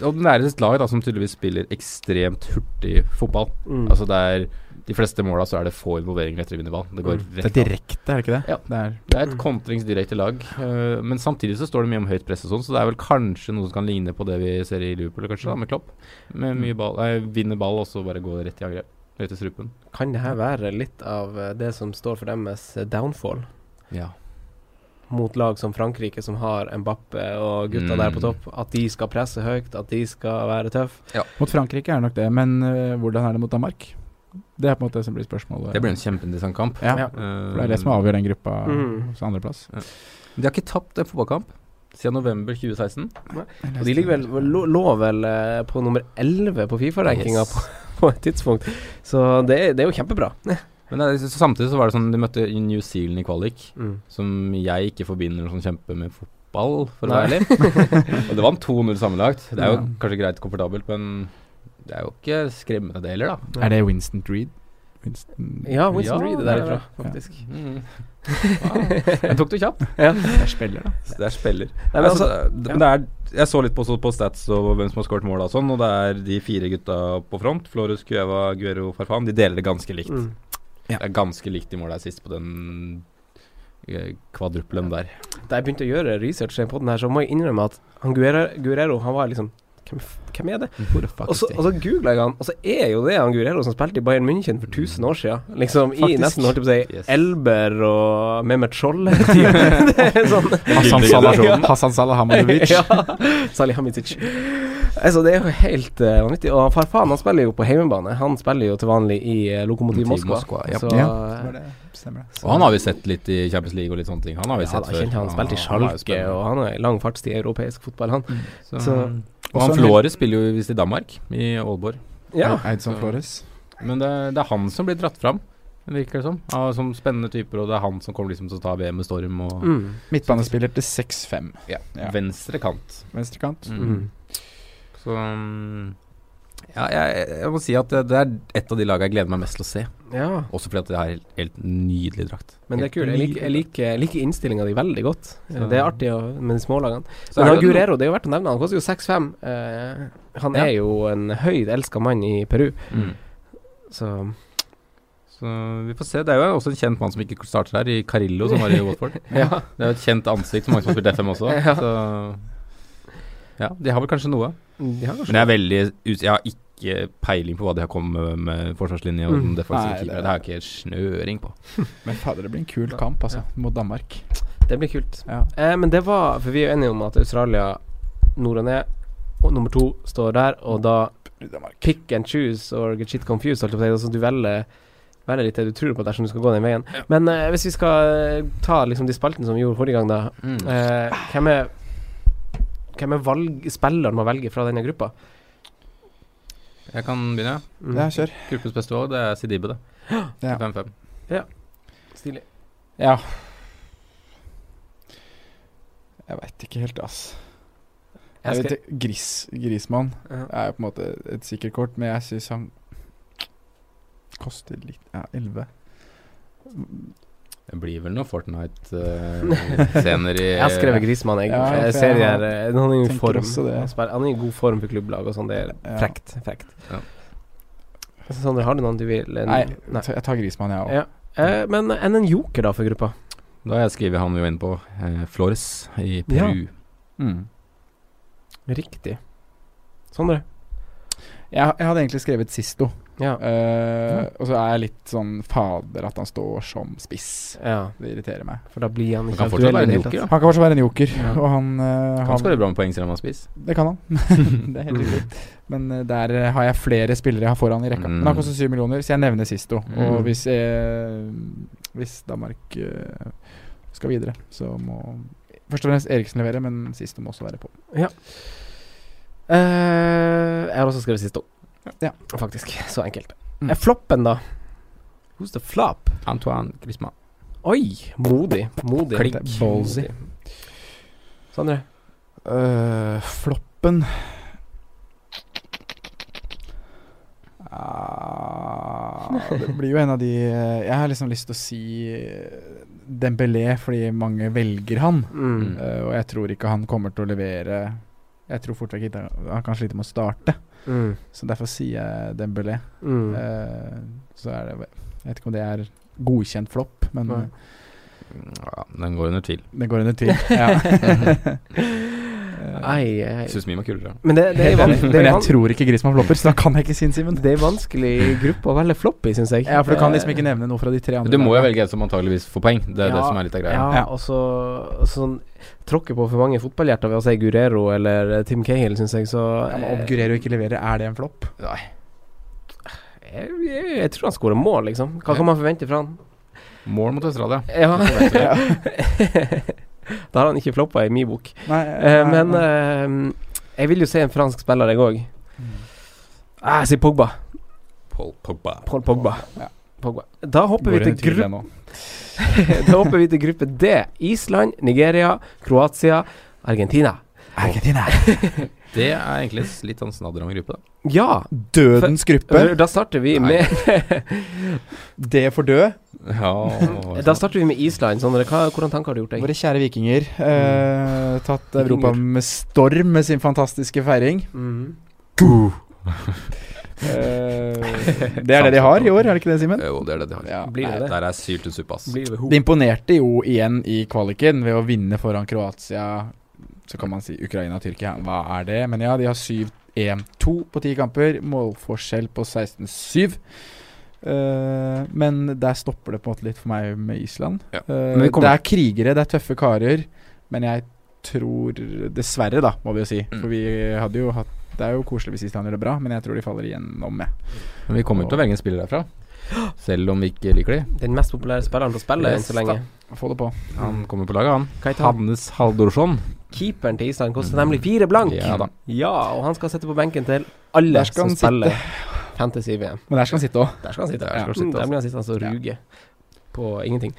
og det er et lag da, som tydeligvis spiller ekstremt hurtig fotball.
Mm.
Altså det er de fleste måla så er det få involveringer etter å vinne ball. Det går
Mm. Det er
rett av.
direkte, er det ikke det?
Ja.
Det er
Det er et kontringsdirekte lag, eh, men samtidig så står det mye om høyt press og sånn, så det er vel kanskje noe som kan ligne på det vi ser i Liverpool, kanskje, da, med Klopp. Med mye ball, nei, vinne ball og så bare gå rett i angrep. Høyt i strupen.
Kan det her være litt av eh, det som står for deres eh, downfall?
Ja.
mot lag som Frankrike, som har Mbappe og gutta
Mm.
der på topp, at de skal presse høyt, at de skal være tøff
Mot Frankrike er det nok det, men øh, hvordan er det mot Danmark? Det er på en måte det som blir spørsmålet.
Det blir en kjempeinteressant kamp.
ja.
Ja.
For det er det som avgjør den gruppa
Mm.
hos andreplass.
De har ikke tapt en fotballkamp siden november 2016.
Og de ligger vel, lå, lå vel eh, på nummer 11 på Fifa-rankinga på, på et tidspunkt, så det, er- det er jo kjempebra.
Men det, er- så samtidig så var det sånn de møtte New Zealand i kvalik, som jeg ikke forbinder noe sånn kjempe med fotball, for å
Nei.
være ærlig. og det vant 2-0 sammenlagt. Det er jo
Ja.
kanskje greit komfortabelt, men det er jo ikke skremmende det heller, da.
Er det Winston Reed? Winston
Ja, Winston
Ja,
Reed er
det er
derifra,
det.
faktisk.
Den tok du kjapt.
er spiller, da.
Det er spiller.
Nei, men altså,
det, men det er, jeg så litt på, så på stats og hvem som har skåret mål og sånn, og det er de fire gutta på front, Flores, Cueva, Guero, Farfan, de deler det ganske likt.
mm.
Det er ganske likt de måla sist på den eh, kvadruppelen der.
Da jeg begynte å gjøre research på den her, så må jeg innrømme at han Guerrero, Guerrero han var liksom hvem, f- hvem er det?
Mm.
Og så, og så googla jeg han, og så er jo det han Guerrero som spilte i Bayern München for 1000 år siden. Liksom i
Faktisk.
nesten, holdt jeg på å si,
Yes.
Elber og Mehmet Scholl. det er sånn
Hassan
Gyldig
Salah,
generasjon.
Hassan Salah Hamadovic.
ja. Salih Hamidic. Altså, det er jo helt eh, vanvittig. Og Farfan han spiller jo på hjemmebane. Han spiller jo til vanlig i eh, Lokomotiv
Lokomotiv
Moskva.
Moskva, ja.
Så,
Ja.
eh,
Stemmer det.
Og han har vi sett litt i Champions League og litt sånne ting. Han har vi
ja,
sett
da, kjente han spilte i
han er jo
Schalke, og han har lang fartstid i europeisk fotball, han.
Så,
Så-
og han Flores spiller jo visst i Danmark, i Aalborg.
Ja.
Eidson
Så-
Flores.
Men det, er- det er han som blir dratt fram, virker det som. Av, som spennende typer, og det er han som kommer liksom til å ta VM med storm. Og
Mm.
Midtbanespiller til 6-5. Ja.
venstre kant.
Venstrekant.
Mm.
Så mm, ja, jeg, jeg må si at det, det er et av de lagene jeg gleder meg mest til å se.
ja.
Også fordi at det er helt, helt nydelig drakt.
Men det er kult. Jeg liker, jeg liker, jeg liker innstillinga di veldig godt.
Så-
Det er artig å- med de smålagene.
Så
Men
er
han
det-
Guerrero, det er jo verdt å nevne. Han koster jo 6-5. Eh, han
Ja.
er jo en høyt elska mann i Peru,
Mm.
så
Så vi får se. Det er jo også en kjent mann som ikke starter her, i Carillo, som var i Watford.
Ja.
Det er jo et kjent ansikt for mange som har spilt FM også.
Ja.
Så ja, de har vel kanskje noe.
De har kanskje
Men jeg er veldig us Jeg har ikke peiling på hva de har kommet med med forsvarslinje og
Mm.
mm. defensive
Nei, det-
keepere. Det har jeg ikke snøring på.
Men fader, det blir en kul kamp, altså, mot Danmark.
Det blir kult.
Ja.
Eh, men det var For vi er jo enige om at Australia nord og ned, og nummer to står der, og da pick and choose or get shit confused, holdt jeg på å si. Altså, du velger velger litt det du tror på dersom du skal gå den veien. Men eh, hvis vi skal eh, ta liksom de spaltene som vi gjorde forrige gang, da.
Mm.
Eh, hvem er Hvem er valg, spilleren man velger fra denne gruppa?
Jeg kan begynne.
Mm.
Ja, kjør.
Gruppens beste valg, det er Sidibe, det.
Ja.
5-5.
Stilig.
Ja. Jeg veit ikke helt, ass. Jeg
Jeg
vet,
skal,
ikke, gris, Grismann
Ja.
er jo på en måte et sikkert kort, men jeg syns han koster litt Ja, 11.
Det blir vel noe Fortnite-scener i
jeg har skrevet Grismann, jeg.
Ja,
jeg
for
ser
jeg
de her eh, Han er jo i
tenker
form.
også det.
Han spiller- Han er i god form for klubblag og sånn. Det er
Ja.
frekt. frekt.
Ja.
Sondre, har du noen du vil eh,
Nei,
nei.
ta- jeg tar Grismann, jeg òg.
Ja. Eh, men enn en joker, da, for gruppa?
Da har jeg skrevet han jo inn på eh, Flores i Peru.
Mm.
Riktig. Sondre?
Jeg, jeg hadde egentlig skrevet Sisto,
Ja.
eh, og så er jeg litt sånn fader at han står som spiss.
ja.
Det irriterer meg.
For da blir han
Han
ikke
kan fortsatt
aktuell i
være en
det hele
joker, da.
tatt.
Han kan fortsatt være en joker,
Ja.
og han, eh,
Han
han
skårer bra med poeng selv om han spiser.
Det kan han. det er helt riktig. Men eh, der eh, har jeg flere spillere jeg har foran i rekka.
Mm.
Men han koster syv millioner, så jeg nevner Sisto. Og
Mm.
hvis, eh, hvis Danmark eh, skal videre, så må først og fremst Eriksen levere, men Sisto må også være på.
Eh, jeg har også skrevet siste
Ja.
Faktisk. Så enkelt.
Mm.
Eh, floppen, da? Who's the flop?
Antoine Griezmann.
Oi! Modig. Modig.
Klink.
Modig.
Ballsy.
Sondre?
Eh, floppen Ah, Det blir jo en av de eh, Jeg har liksom lyst til å si eh, Dembélé, fordi mange velger han.
Mm.
Eh, og jeg tror ikke han kommer til å levere Jeg tror fort vekk ikke han- han kan slite med å starte.
Mm.
Så derfor sier jeg Dembélé.
Mm.
Eh, så er det Jeg vet ikke om det er godkjent flopp, men
Nei.
Ja, den går under tvil.
det går under tvil. Ja.
Ei, ei.
Syns mye var kulere.
Men det, det, er van det,
men
er
jeg
van
tror ikke Grismann flopper, så da kan jeg ikke si Simen.
det er vanskelig gruppe å velge flopp i, syns jeg.
Ja, for du kan liksom
Eh,
ikke nevne noe fra de tre andre.
Du må jo
lagene.
velge en som antageligvis får poeng. Det er det
Ja,
som er litt av greia.
Ja,
Ja.
og så og sånn tråkke på for mange fotballhjerter ved å si Gurero eller eh, Tim Cahill, syns jeg, så
Ja, men Om
eh,
Guerrero ikke leverer, er det en flopp?
eh, jeg, jeg, jeg tror han skårer mål, liksom. Hva kan man forvente fra han?
Mål mot Australia.
Ja. da har han ikke floppa i min bok.
Nei,
Eh,
nei,
men
nei.
eh, jeg vil jo se en fransk spiller, jeg òg. Ah, jeg sier Pogba.
Paul Pogba.
Paul Pogba.
Ja.
Pogba. Da hopper, vi
Går under
til
tvil
gruppe,
ennå.
da hopper vi til gruppe D. Island, Nigeria, Kroatia, Argentina.
Argentina.
Det er egentlig s- litt sånn snadder om gruppe, da.
Ja! eh,
Dødens gruppe.
Da starter vi
Nei.
med
Det for død.
Ja, sånn.
Da starter vi med Island. Sondre. hva, hvordan tanker har du gjort deg?
Våre kjære vikinger. Eh, tatt
Mm. Vikinger.
Europa med storm med sin fantastiske feiring.
Mhm.
Eh, det er det de har i år, er det ikke det, Simen?
Jo, det er det de har.
Ja.
Blir det
Nei,
det?
Der er syltet suppe, ass.
Blir det ho?
De imponerte jo igjen i kvaliken ved å vinne foran Kroatia. Så kan man si Ukraina og Tyrkia. Hva er det? Men ja, de har 7-1-2 på ti kamper. Målforskjell på 16-7. Eh, men der stopper det på en måte litt for meg med Island.
Ja.
Eh,
Men vi kommer-
det er krigere, det er tøffe karer. Men jeg tror Dessverre, da, må vi jo si.
Mm.
For vi hadde jo hatt Det er jo koselig hvis Island gjør det bra, men jeg tror de faller igjennom med.
Men vi kommer til å velge en spiller derfra. Selv om vi ikke liker de.
Den mest populære spilleren på spillet enn
Yes,
så lenge.
Få det på.
Han kommer på laget, han.
Hva heter han?
Hannes Haldorsson.
Keeperen til Island koster nemlig fire blank.
Ja da.
Ja, og han skal sitte på benken til
Der
alle som
skal han
spiller Fantasy-VM.
Men der skal han sitte òg.
Der skal han sitte.
Der skal han
Mm,
sitte,
der
altså.
blir han sittende og ruge på ingenting.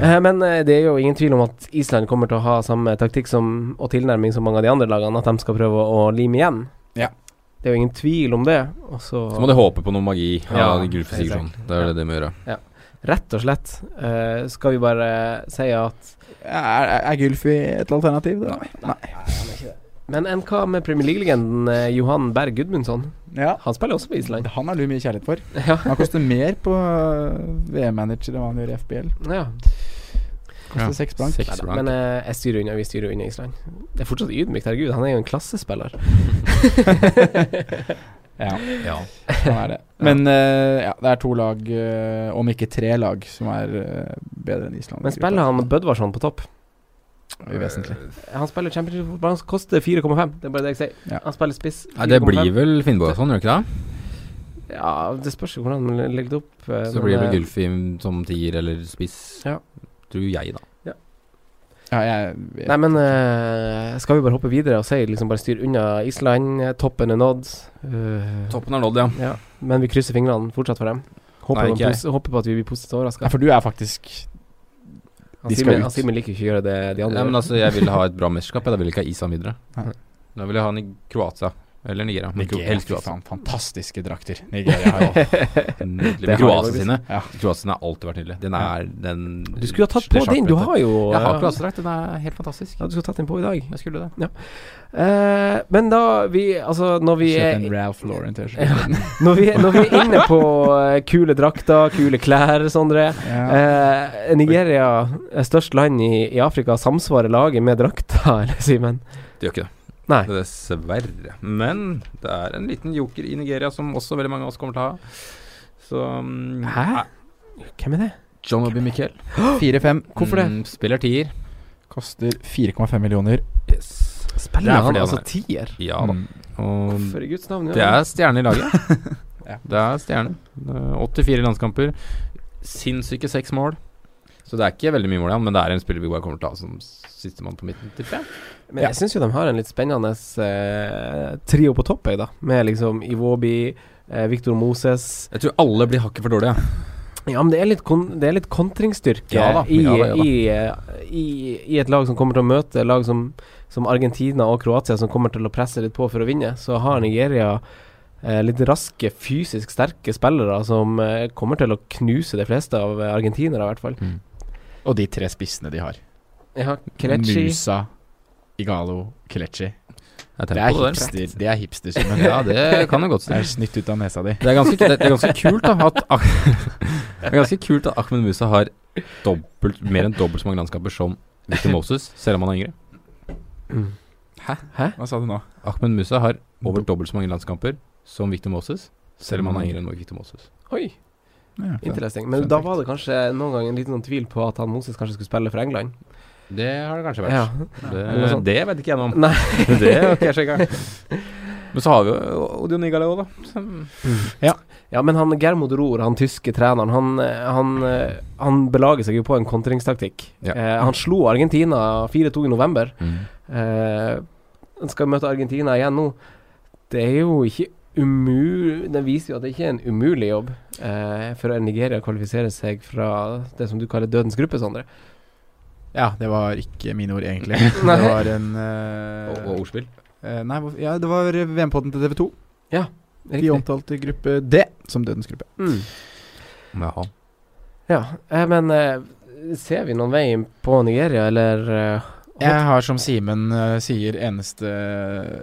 Eh, Men eh, det er jo ingen tvil om at Island kommer til å ha samme taktikk som, og tilnærming som mange av de andre lagene, at de skal prøve å lime igjen.
Ja.
Det er jo ingen tvil om det. Og så
Så må de håpe på noe magi av
Ja,
Gylfi
helt
Sigurdsson. sånn. Det er det de må gjøre.
Rett og slett eh, skal vi bare si at
Er, er- er Gylfi et alternativ? Da? Nei.
Men enn hva med Premier League-legenden eh, Johan Berg Gudmundsson?
Ja.
Han spiller også på Island.
Han har du mye kjærlighet for.
Ja.
Han koster mer på VM-manager enn hva han gjør i FBL.
ja.
Koster seks blank.
Seks
Neida,
blank.
Men eh, jeg styrer unna, vi styrer unna Island. Det er fortsatt ydmykt, herregud. Han er jo en klassespiller.
Ja,
Ja.
han er det. Men eh, ja, det er to lag, eh, om ikke tre lag, som er eh, bedre enn Island.
Men spiller han Bødvarsson på topp?
Uvesentlig.
Eh,
Han spiller championship-fotball, han koster 4,5. Det er bare det jeg sier.
Ja.
Han spiller spiss.
Nei, det
4,5.
blir vel Finnborgsson, gjør det ikke det?
Ja, det spørs jo hvordan man legger det opp. eh,
Så
men,
blir det
eh,
vel Gylfi som tier eller spiss.
Ja.
Tror jeg, da.
Ja, jeg vet.
Nei, men eh, skal vi bare hoppe videre og si liksom bare styr unna Island? eh, Toppen er nådd. Eh,
Toppen er nådd, ja.
Ja. Men vi krysser fingrene fortsatt for dem. Håper,
Nei,
de
ikke jeg.
pos- håper på at vi blir positivt
Ja,
overraska.
for du er faktisk de skal ut.
Simen liker ikke å gjøre det de andre
Nei, men
gjør.
altså, jeg vil ha et bra mesterskap. Jeg da vil ikke ha Island videre.
Nei.
Da vil jeg ha han i Kroatia. Eller Nigeria. Men Kro-
Nigeria,
helst
fy
Kroatia.
faen, fantastiske drakter. Nigeria har jo
Nydelig.
Det
Men
har
Kroatia
jeg
sine
Ja.
Kroatia sine har alltid vært nydelige. Den er den
Du skulle ha tatt på
det
din, du
sjakkbrettet.
har jo
Jeg har
eh,
kroatiadrakt. Den er helt fantastisk.
Ja, du skulle tatt den på i dag.
Jeg skulle det.
Eh, men da vi Altså, når vi er
Kjøpt en Ralph Lauren t
Når vi, når vi er inne på eh, kule drakter, kule klær, Sondre eh, Nigeria, eh, størst land i, i Afrika, samsvarer laget med drakta, eller, Simen?
Det gjør ikke det.
Nei.
Dessverre. Men det er en liten joker i Nigeria som også veldig mange av oss kommer til å ha. Så mm,
Hæ?
eh,
Hvem er det?
John Obi Mikkel.
4-5
Hvorfor det?
Mm, spiller tier.
koster 4,5 millioner.
Yes.
Spiller
Det er
han
fordi han
altså
er-
tier?
Ja da.
Mm.
Og
Hvorfor i guds navn?
det er stjerne i laget.
Ja.
Det er stjerne. Eh, 84 landskamper. Sinnssyke seks mål. Så det er ikke veldig mye mål igjen, men det er en spiller vi bare kommer til å ha som sistemann på midten, tipper jeg.
Men jeg syns jo de har en litt spennende eh, trio på topp, jeg, da. Med liksom Iwobi, eh, Victor Moses
Jeg tror alle blir hakket for dårlige.
Ja, men det er litt, kon det er litt kontringsstyrke
Ja da,
i,
ja da, ja da.
I, eh, i, i et lag som kommer til å møte lag som, som Argentina og Kroatia, som kommer til å presse litt på for å vinne. Så har Nigeria eh, litt raske, fysisk sterke spillere som eh, kommer til å knuse de fleste av eh, argentinere, i hvert fall.
Og de tre spissene de har.
Ja, Kelechi
Musa, Igalo, Kelechi.
Jeg
Det
tenker
er
på det der.
hipster, det er hipster Simen.
Ja, det kan jo godt
Det
si.
er snytt ut av nesa di.
Det er ganske, det, det er ganske kult da at Ah- Det er ganske kult at Ahmed Musa har dobbelt, mer enn dobbelt så mange landskamper som Victor Moses, selv om han er yngre.
Hva sa du nå?
Ahmed Musa har over dobbelt så mange landskamper som Victor Moses, selv om han er yngre enn Victor Moses.
Oi,
Ja.
interesting. Men
Fun
da
fact.
var det kanskje noen gang en liten sånn tvil på at han Moses kanskje skulle spille for England.
Det har det kanskje vært.
Ja. Eller
Det,
sånn.
det vet ikke jeg noe om.
Nei.
Det har ikke jeg sjekka. Men så har vi jo Odion Igalo, da. Som
Ja, men han Germod Rohr, han tyske treneren, han, eh, han, eh, han belager seg jo på en kontringstaktikk.
Ja.
Eh, han slo Argentina 4-2 i november.
Mm.
Eh, han skal møte Argentina igjen nå. Det er jo ikke umulig Det viser jo at det ikke er en umulig jobb eh, for Nigeria å kvalifisere seg fra det som du kaller dødens gruppe, Sondre.
ja, det var ikke mine ord, egentlig.
Nei.
Det var en eh,
og, og ordspill.
eh, Nei, hvor- ja, det var VM-podden til TV 2. Vi
Riktig.
omtalte gruppe D som dødens gruppe.
Mm.
Jaha.
Ja, eh, men eh, ser vi noen vei på Nigeria, eller eh,
Jeg har som Simen eh, sier, eneste,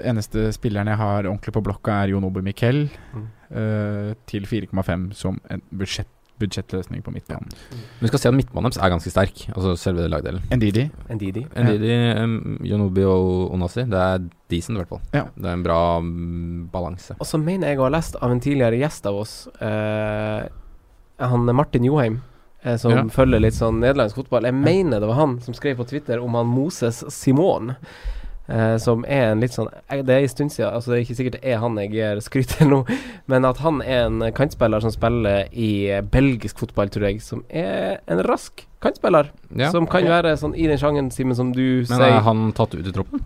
eneste spilleren jeg har ordentlig på blokka, er Jon Obe Mikkel.
Mm.
eh, til 4,5 som en budsjett, budsjettløsning på midtbanen.
Men vi skal se at midtbanen deres er ganske sterk, altså selve lagdelen.
Ndidi.
Ndidi?
Ndidi, um, Yonobi og Onasi, det er decent i hvert fall.
Ja.
Det er en bra mm, balanse.
Og så mener jeg å ha lest av en tidligere gjest av oss, eh, han Martin Joheim, eh, som
Ja.
følger litt sånn nederlandsk fotball. Jeg mener det var han som skrev på Twitter om han Moses Simon. eh, som er en litt sånn eh, Det er en stund siden, altså det er ikke sikkert det er han jeg gir skryt til nå, men at han er en kantspiller som spiller i eh, belgisk fotball, tror jeg, som er en rask kantspiller.
Ja.
Som kan være sånn i den sjangeren, Simen, som du
Men
sier.
er han tatt ut i troppen?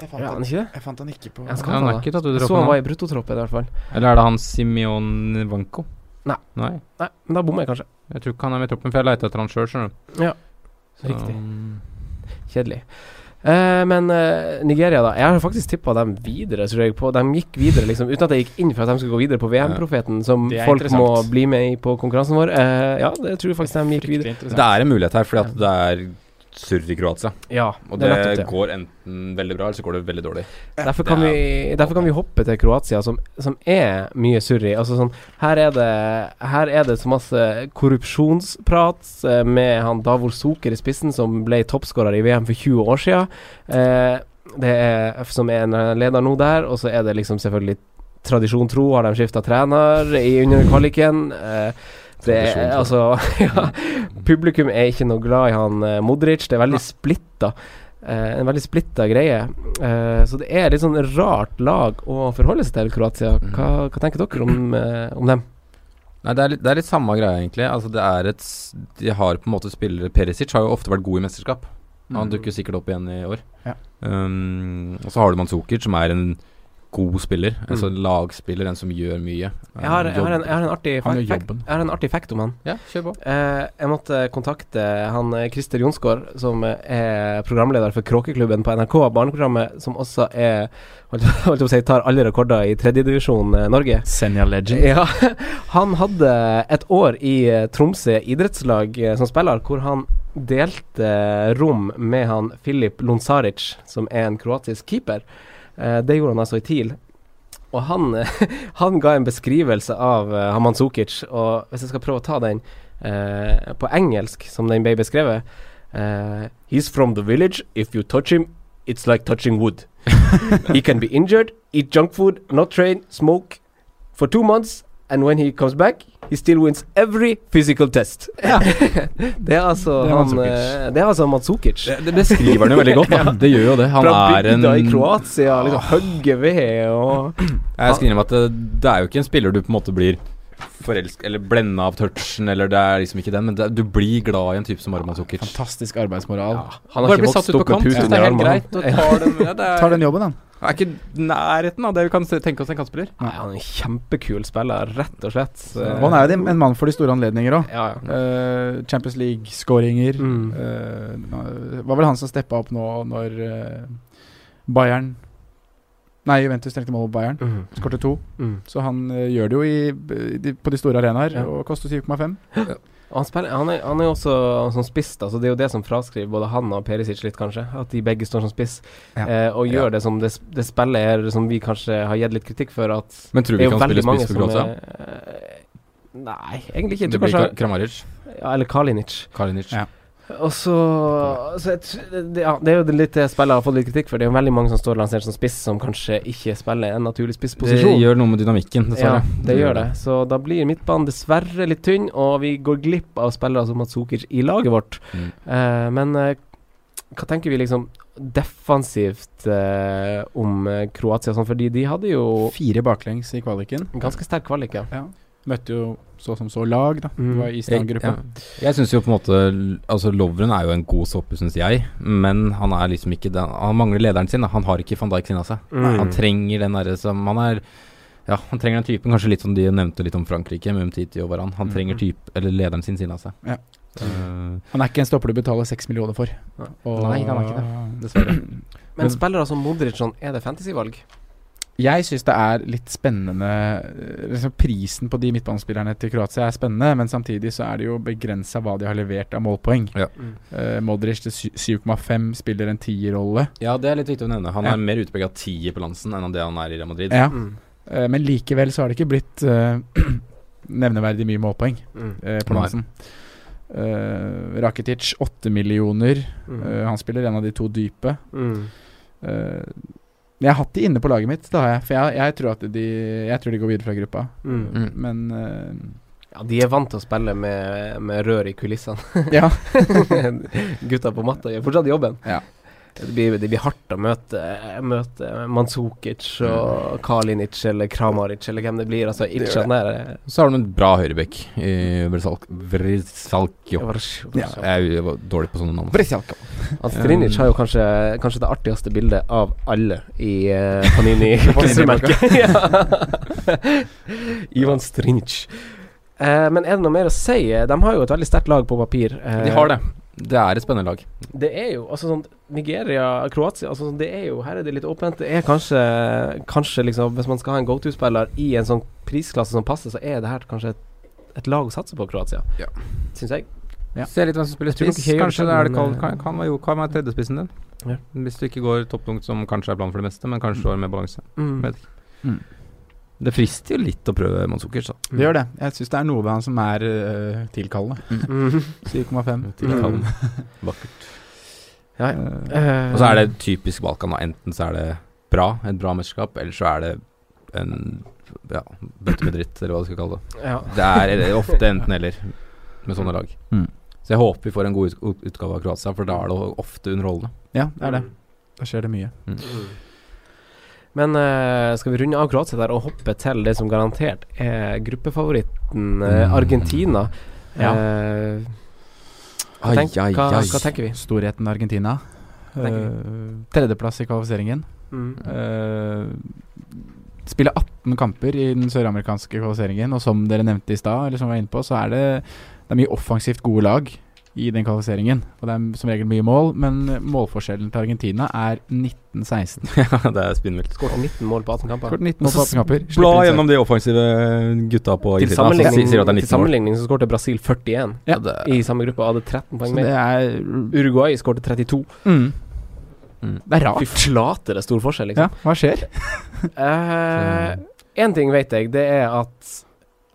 Jeg
Ja, han er ikke det?
jeg fant han ikke på
Jeg skal
Han
ta
er
det.
ikke tatt ut i
Jeg så han
troppen?
var
han.
i bruttotroppen, i hvert fall.
Eller er det han Simeon Vanko?
Nei.
Nei.
Nei, men da bommer jeg kanskje.
Jeg tror ikke han er med i troppen, for jeg leita etter han sjøl, skjønner du.
Ja,
Så-
Kjedelig. Eh, men eh, Nigeria, da. Jeg har faktisk tippa dem videre, tror jeg. På. De gikk videre, liksom, uten at jeg gikk inn for at de skulle gå videre på VM-profeten, som
Det er
folk må
interessant.
bli med i på konkurransen vår. Eh, ja, det tror jeg faktisk de gikk videre.
Det er en mulighet her, fordi at det er surr i Kroatia.
Ja,
Og
det
det,
er nettopp det.
går enten veldig bra, eller så går det veldig dårlig.
Derfor kan,
Det er-
vi, derfor kan vi hoppe til Kroatia, som, som er mye surr i. Altså sånn, her er, det, her er det så masse korrupsjonsprat eh, med han Davor Soker i spissen, som ble toppskårer i VM for 20 år siden. Eh, det er F som er en eh, leder nå der, og så er det liksom selvfølgelig tradisjon tro, har de skifta trener i under kvaliken. Eh, det er altså ja, Publikum er ikke noe glad i han eh, Modric. Det er veldig splitta. Eh, en veldig splitta greie. Eh, så det er litt sånn rart lag å forholde seg til, Kroatia.
Mm.
Hva, hva tenker dere om, eh, om dem?
Nei, det er, litt, det er litt samme greia, egentlig. Altså, det er et s- De har på en måte spillere Perisic har jo ofte vært god i mesterskap. Han dukker sikkert opp igjen i år.
Ja.
Um, og så har du Manzukic, som er en god spiller. En
Mm.
sånn lagspiller, en som gjør mye. Um,
Jeg har, jeg har, en, jeg har en artig
Han
fact,
gjør jobben.
jeg har en artig fact om han.
Ja, kjør på.
Eh, jeg måtte kontakte han eh, Christer Jonsgaard, som eh, er programleder for Kråkeklubben på NRK, barneprogrammet, som også er holdt, holdt jeg på å si, tar alle rekorder i tredjedivisjon eh, Norge.
Senja Legend.
Ja, han hadde et år i eh, Tromsø idrettslag eh, som spiller, hvor han delte eh, rom med han Filip Lonsaric, som er en kroatisk keeper. Eh, Det gjorde han altså i TIL. Og han, eh, han ga en beskrivelse av eh, Haman Sukic, og hvis jeg skal prøve å ta den eh, på engelsk, som den ble beskrevet eh, He's from the village. If you touch him, it's like touching wood. He can be injured, eat junk food, not train, smoke, for two months, and when he comes back, he still wins every physical test. det er altså
Det er
han
Mandzukic.
eh, Det er altså Matsukic.
Det, det beskriver han jo veldig godt, da. Det gjør jo det. Han
Fra
er en
bygda i Kroatia, liksom hogger ved og
Jeg skriver om at det, det er jo ikke en spiller du på en måte blir forelska Eller blenda av touchen, eller det er liksom ikke den, men det, du blir glad i en type som Arman Zukic.
Fantastisk arbeidsmoral.
Han
Bare bli satt ut på kant,
puten
så
i
det er helt greit. Og tar dem, ja, det er,
Tar den jobben, han.
er ikke nærheten av det vi kan se- tenke oss en kantspiller.
Nei, han er en kjempekul spiller, rett og slett. Så-
Og han er jo en mann for de store anledninger òg.
Ja, ja.
Champions League-skåringer.
Mm.
Eh, nå- var vel han som steppa opp nå når eh, Bayern Nei, Juventus trengte mål på Bayern.
Mm.
Skårte to.
Mm.
Så han eh, gjør det jo i, de, på de store arenaer
Ja.
og koster 7,5.
Og han, spiller, han, er, han er jo også som spiss, da, så det er jo det som fraskriver både han og Perisic litt, kanskje. At de begge står som spiss,
Ja.
eh, og gjør
Ja.
det som det, sp- det spillet her som vi kanskje har gitt litt kritikk for, at
Men tror
det
vi
er jo
kan spille
veldig mange
spiss for
som
Kroatia?
er, Eh, Nei, egentlig ikke. Jeg
Det
tror
blir Ka-
kanskje
Kramaric,
ja, Eller Kalinic.
Kalinic.
Ja.
Og så, så jeg, tr- det, ja, det er jo det litt det spillet jeg har fått litt kritikk for. Det er jo veldig mange som står lansert som spiss, som kanskje ikke spiller en naturlig
Det
spissposisjon.
gjør noe med dynamikken, dessverre.
Ja, det gjør det. Så da blir midtbanen dessverre litt tynn, og vi går glipp av spillere som Matsukic i laget vårt.
Mm.
Eh, men eh, hva tenker vi liksom defensivt eh, om eh, Kroatia og sånn, fordi de hadde jo
Fire baklengs i kvaliken.
en ganske sterk kvalik, ja.
Møtte jo så som så lag, da.
Mm.
Det var Island-gruppa.
Jeg, ja. jeg syns jo på en måte Altså Lovren er jo en god stopper, syns jeg, men han er liksom ikke den Han mangler lederen sin. da. Han har ikke van Dijk sin av seg. Han
Mm.
trenger den derre som Han er Ja, han trenger den typen. Kanskje litt som de nevnte litt om Frankrike, med Umtiti og Varan. Han
Mm.
trenger typ, eller lederen sin siden av seg.
Ja.
Eh,
Han er ikke en stopper du betaler seks millioner for.
Nei.
Og-
Nei, han er ikke dessverre.
Men spillere som Modric sånn, er det fantasyvalg?
Jeg syns det er litt spennende eh, liksom Prisen på de midtbanespillerne til Kroatia er spennende, men samtidig så er det jo begrensa hva de har levert av målpoeng.
Ja.
Mm.
Eh, Modric til sy- 7,5 spiller en tierrolle,
Ja, det er litt viktig å nevne. Han
Ja.
er mer utprega tier på Lansen enn det han er i Real Madrid.
ja.
Mm.
Eh, men likevel så har det ikke blitt eh, nevneverdig mye målpoeng
Mm.
eh,
Nei.
på Nansen. Eh, Rakitic 8 millioner.
Mm.
Eh, han spiller en av de to dype.
Mm.
Eh, jeg har hatt de inne på laget mitt, det har jeg. For jeg, jeg, tror at de, jeg tror de går videre fra gruppa.
Mm.
Mm.
Men eh,
Ja, de er vant til å spille med, med rør i kulissene.
Ja.
Gutta på matta gjør fortsatt jobben.
Ja.
Det blir, det blir hardt å møte, møte Manzukic og Kalinic eller Kramaric eller hvem det blir. Altså, Itchan der er-
Så har de en bra høyrebekk i Vrsalk- Vrsalkjo.
Ja.
Jeg var dårlig på sånne navn.
Brezialka.
Altså, Strinic har jo kanskje, kanskje det artigste bildet av alle i eh, Panini klistremerket. Ja. Ivan Strinic. Eh, men er det noe mer å si? De har jo et veldig sterkt lag på papir. eh,
De har det. Det er et spennende lag.
Det er jo altså sånn Nigeria, Kroatia altså sånn, Det er jo Her er det litt åpent. Det er kanskje Kanskje liksom Hvis man skal ha en go-to-spiller i en sånn prisklasse som passer, så er det her kanskje et, et lag å satse på, Kroatia.
Ja.
Syns jeg.
Ja.
Se litt hvem som spiller
Jeg tror
spiss.
nok ikke jeg gjør
Kanskje
det
det
selv,
er det kan,
men,
kan, kan, være- jo, kan være tredjespissen din.
eh, Ja.
Hvis du ikke går topptungt, som kanskje er planen for det meste, men kanskje du har mer balanse.
Mm.
Det frister jo litt å prøve Manzukic, da.
Det gjør det. Jeg syns det er noe ved han som er eh, tilkallende.
Mm.
7,5.
Tilkallen.
Mm.
Vakkert.
Ja, ja.
Eh,
Eh,
Og så er det typisk Balkan. da. Enten så er det bra, et bra mesterskap, eller så er det en ja, bøtte med dritt, eller hva du skal kalle det.
ja.
Det er det er ofte enten-eller med sånne lag.
Mm.
Så jeg håper vi får en god ut- ut- utgave av Kroatia, for da er det ofte underholdende.
ja, det er det. Da skjer det mye.
Mm. Men eh, skal vi runde av Kroatia der og hoppe til det som garantert er gruppefavoritten, eh,
Mm.
Argentina?
Ja.
Eh,
Ai,
tenk-
ai,
hva,
ai.
hva tenker vi?
Eh, Storheten Argentina.
tenker
Eh, tredjeplass i kvalifiseringen.
Mm.
Uh, spille 18 kamper i den søramerikanske kvalifiseringen, og som dere nevnte i stad, eller som vi var inne på, så er det, det er mye offensivt gode lag i den kvalifiseringen. Og det er som regel mye mål, men målforskjellen til Argentina er 19-16.
Ja, det er spinnvilt.
Skåret 19 mål på 18 kamper.
Skåret 19 mål på 18 kamper.
Bla
slipper inn
gjennom de offensive gutta på
Til
Altså,
Argentina,
sammenligning,
sier at det er 19
til sammenligning så skårte Brasil 41
Ja, det,
i samme gruppe og hadde 13
Så
poeng
det
mer.
er
Uruguay skårte 32.
mm.
Mm.
Det er
Fy
rart.
flate, det er stor forskjell,
Ja,
liksom.
hva skjer?
Eh, en ting vet jeg, det er at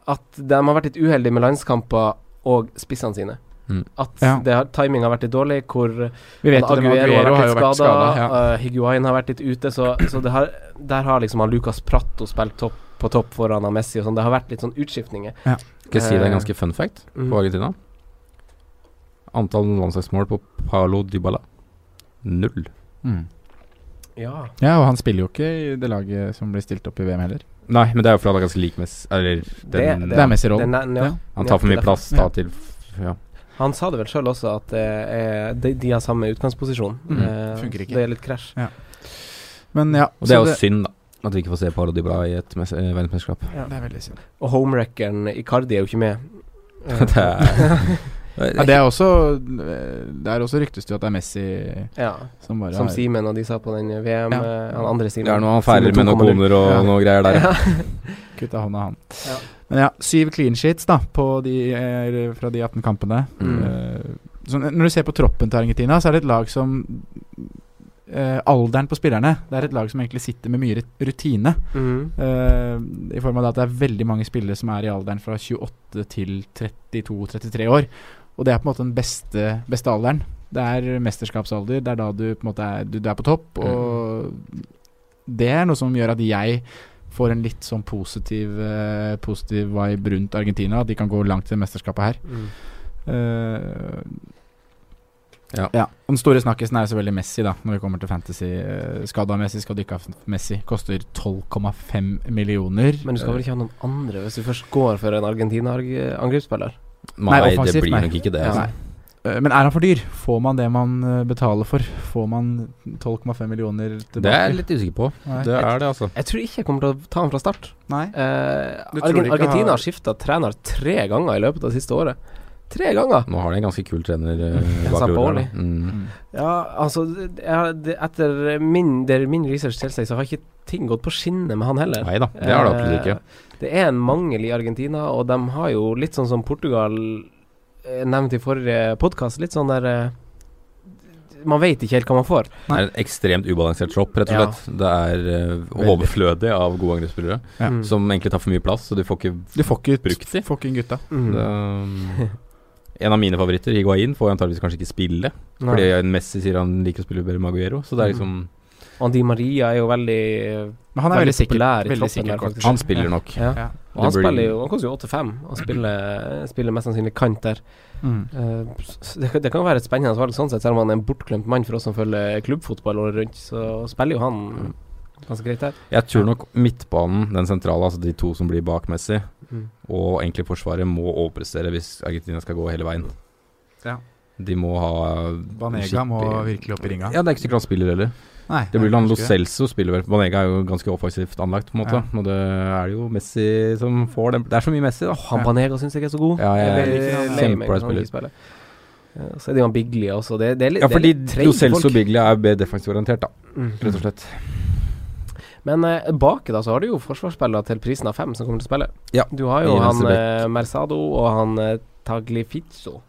At de har vært litt uheldige med landskamper og spissene sine.
Mm.
At
Ja.
det har, timing har vært litt dårlig, hvor
Vi vet jo det med
Aguero,
Aguero
har
har jo vært
litt skada.
skada. Ja.
eh, Higuain har vært litt ute, så, så det har, der har liksom han Lucas Pratto spilt topp på topp foran han Messi og sånn. Det har vært litt sånn utskiftninger.
skal jeg si det er en
Eh,
ganske fun fact
mm.
på Argentina? Antall landslagsmål på Paolo Dybala null.
Mm.
Ja.
ja, og han spiller jo ikke i det laget som blir stilt opp i VM heller.
Nei, men det er jo fordi han er ganske lik Messi Eller den,
Det er Messi-rollen.
Den, er- ja.
Ja.
han tar for mye plass da
Ja.
til f- ja.
Han sa det vel sjøl også, at det er, de, de har samme utgangsposisjon.
Mm.
Eh,
Funker ikke.
Det er litt krasj.
Men ja,
Og det er
så
jo synd, da. At vi ikke får se Paolo Dybala i et mes- eh, verdensmesterskap.
det er veldig synd.
Og homewreckeren Icardi er jo ikke med. Eh,
Det er
Ja, det er også Det er også ryktes det jo at det er Messi
ja,
som bare
som
har
Simen og de sa på den VM,
Ja.
eh, han andre Simen.
Det er noe han feiler med
Simen
noen
2,0.
koner og
Ja.
noe greier der.
kutta hånda han.
Ja.
Men ja, syv clean sheets da på de, eh, fra de 18 kampene.
Mm.
Eh, så når du ser på troppen til Argentina, så er det et lag som eh, Alderen på spillerne Det er et lag som egentlig sitter med mye rut- rutine.
Mhm.
eh, I form av det at det er veldig mange spillere som er i alderen fra 28 til 32-33 år. Og det er på en måte den beste, beste alderen. Det er mesterskapsalder. Det er da du på en måte er, du, du er på topp. Og det er noe som gjør at jeg får en litt sånn positiv, eh, positiv vibe rundt Argentina. At de kan gå langt til mesterskapet her.
Mm.
Eh,
Ja.
Og Den store snakkisen er jo selvfølgelig Messi, da når vi kommer til fantasy. Eh, Skada Messi, skal du ikke ha Messi. Koster 12,5 millioner.
Men du skal vel ikke ha noen andre hvis du først går for en Argentina-angrepsspiller?
Nei, det
offensivt,
blir
nei.
nok ikke det.
Ja.
Altså.
Nei. Eh, Men er han for dyr? Får man det man eh, betaler for? Får man 12,5 millioner tilbake?
Det er jeg litt usikker på.
Nei.
Det er det, altså.
Jeg tror ikke jeg kommer til å ta han fra start.
Nei.
Eh,
Du tror
Argen-
de ikke
Argentina
har-
har skifta trener tre ganger i løpet av det siste året. Tre ganger!
Nå har de en ganske kul trener eh, bak
Sampaoli.
roret. da. Mm.
Mm.
Ja, altså det- jeg har- det, Etter min, det min research tilsier, så har ikke ting gått på skinner med han heller.
Nei da, det har det absolutt ikke.
Eh, Det er en mangel i Argentina, og de har jo litt sånn som Portugal eh, nevnte i forrige podkast, litt sånn der eh, Man vet ikke helt hva man får.
Det er en ekstremt ubalansert tropp, rett og
Ja.
slett. Det er eh, overflødig av gode angrepsspillere,
Ja.
Mm.
som egentlig tar for mye plass, så du får ikke
Du får ikke
brukt de.
Får ikke inn gutta.
Mm.
Det, um, en av mine favoritter, Higuain, får antakeligvis kanskje ikke spille,
Nei.
fordi Messi sier han liker å spille bedre med Aguero, så det er liksom
Og Di Maria er jo veldig
Men han er veldig, sikker,
populær i
veldig
troppen der,
sikker kort.
faktisk.
Han spiller nok.
ja.
Ja.
Og han
Det blir-
spiller jo Han koster jo 8-5 og spiller, spiller mest sannsynlig kant der.
Mm.
Eh, s- det, kan- det kan jo være et spennende valg sånn sett, selv om han er en bortglemt mann for oss som følger klubbfotball året rundt. Så spiller jo han ganske greit der.
Jeg tror nok midtbanen, den sentrale, altså de to som blir bak Messi,
Mm.
og egentlig Forsvaret må overprestere hvis Argentina skal gå hele veien.
Ja.
De må ha
Banega
skikkelig-
må virkelig opp i ringa.
Ja, det er ikke sikkert han spiller heller.
Nei,
Det blir
jeg
han Lo
husker
Celso spiller vel. Banega er jo ganske offensivt anlagt, på en måte. Og det er det jo Messi som får den Det er så mye Messi, da.
Åh, han Banega syns jeg er så god.
Ja, jeg
Jeg
er
er veldig
kjempe-
lei meg når han ikke spiller. Eh, Så er det jo han Biglia også. Det, det er litt,
Ja,
det er
fordi
litt
Lo
treige
Celso
folk.
Biglia er mer defensivorientert, da.
Mm.
Rett og slett.
Men eh, bak da så har du jo forsvarsspillere til prisen av fem som kommer til å spille.
Ja.
Du har jo
I
han
venstreback.
eh, Mersado og han eh, Taglifizzo,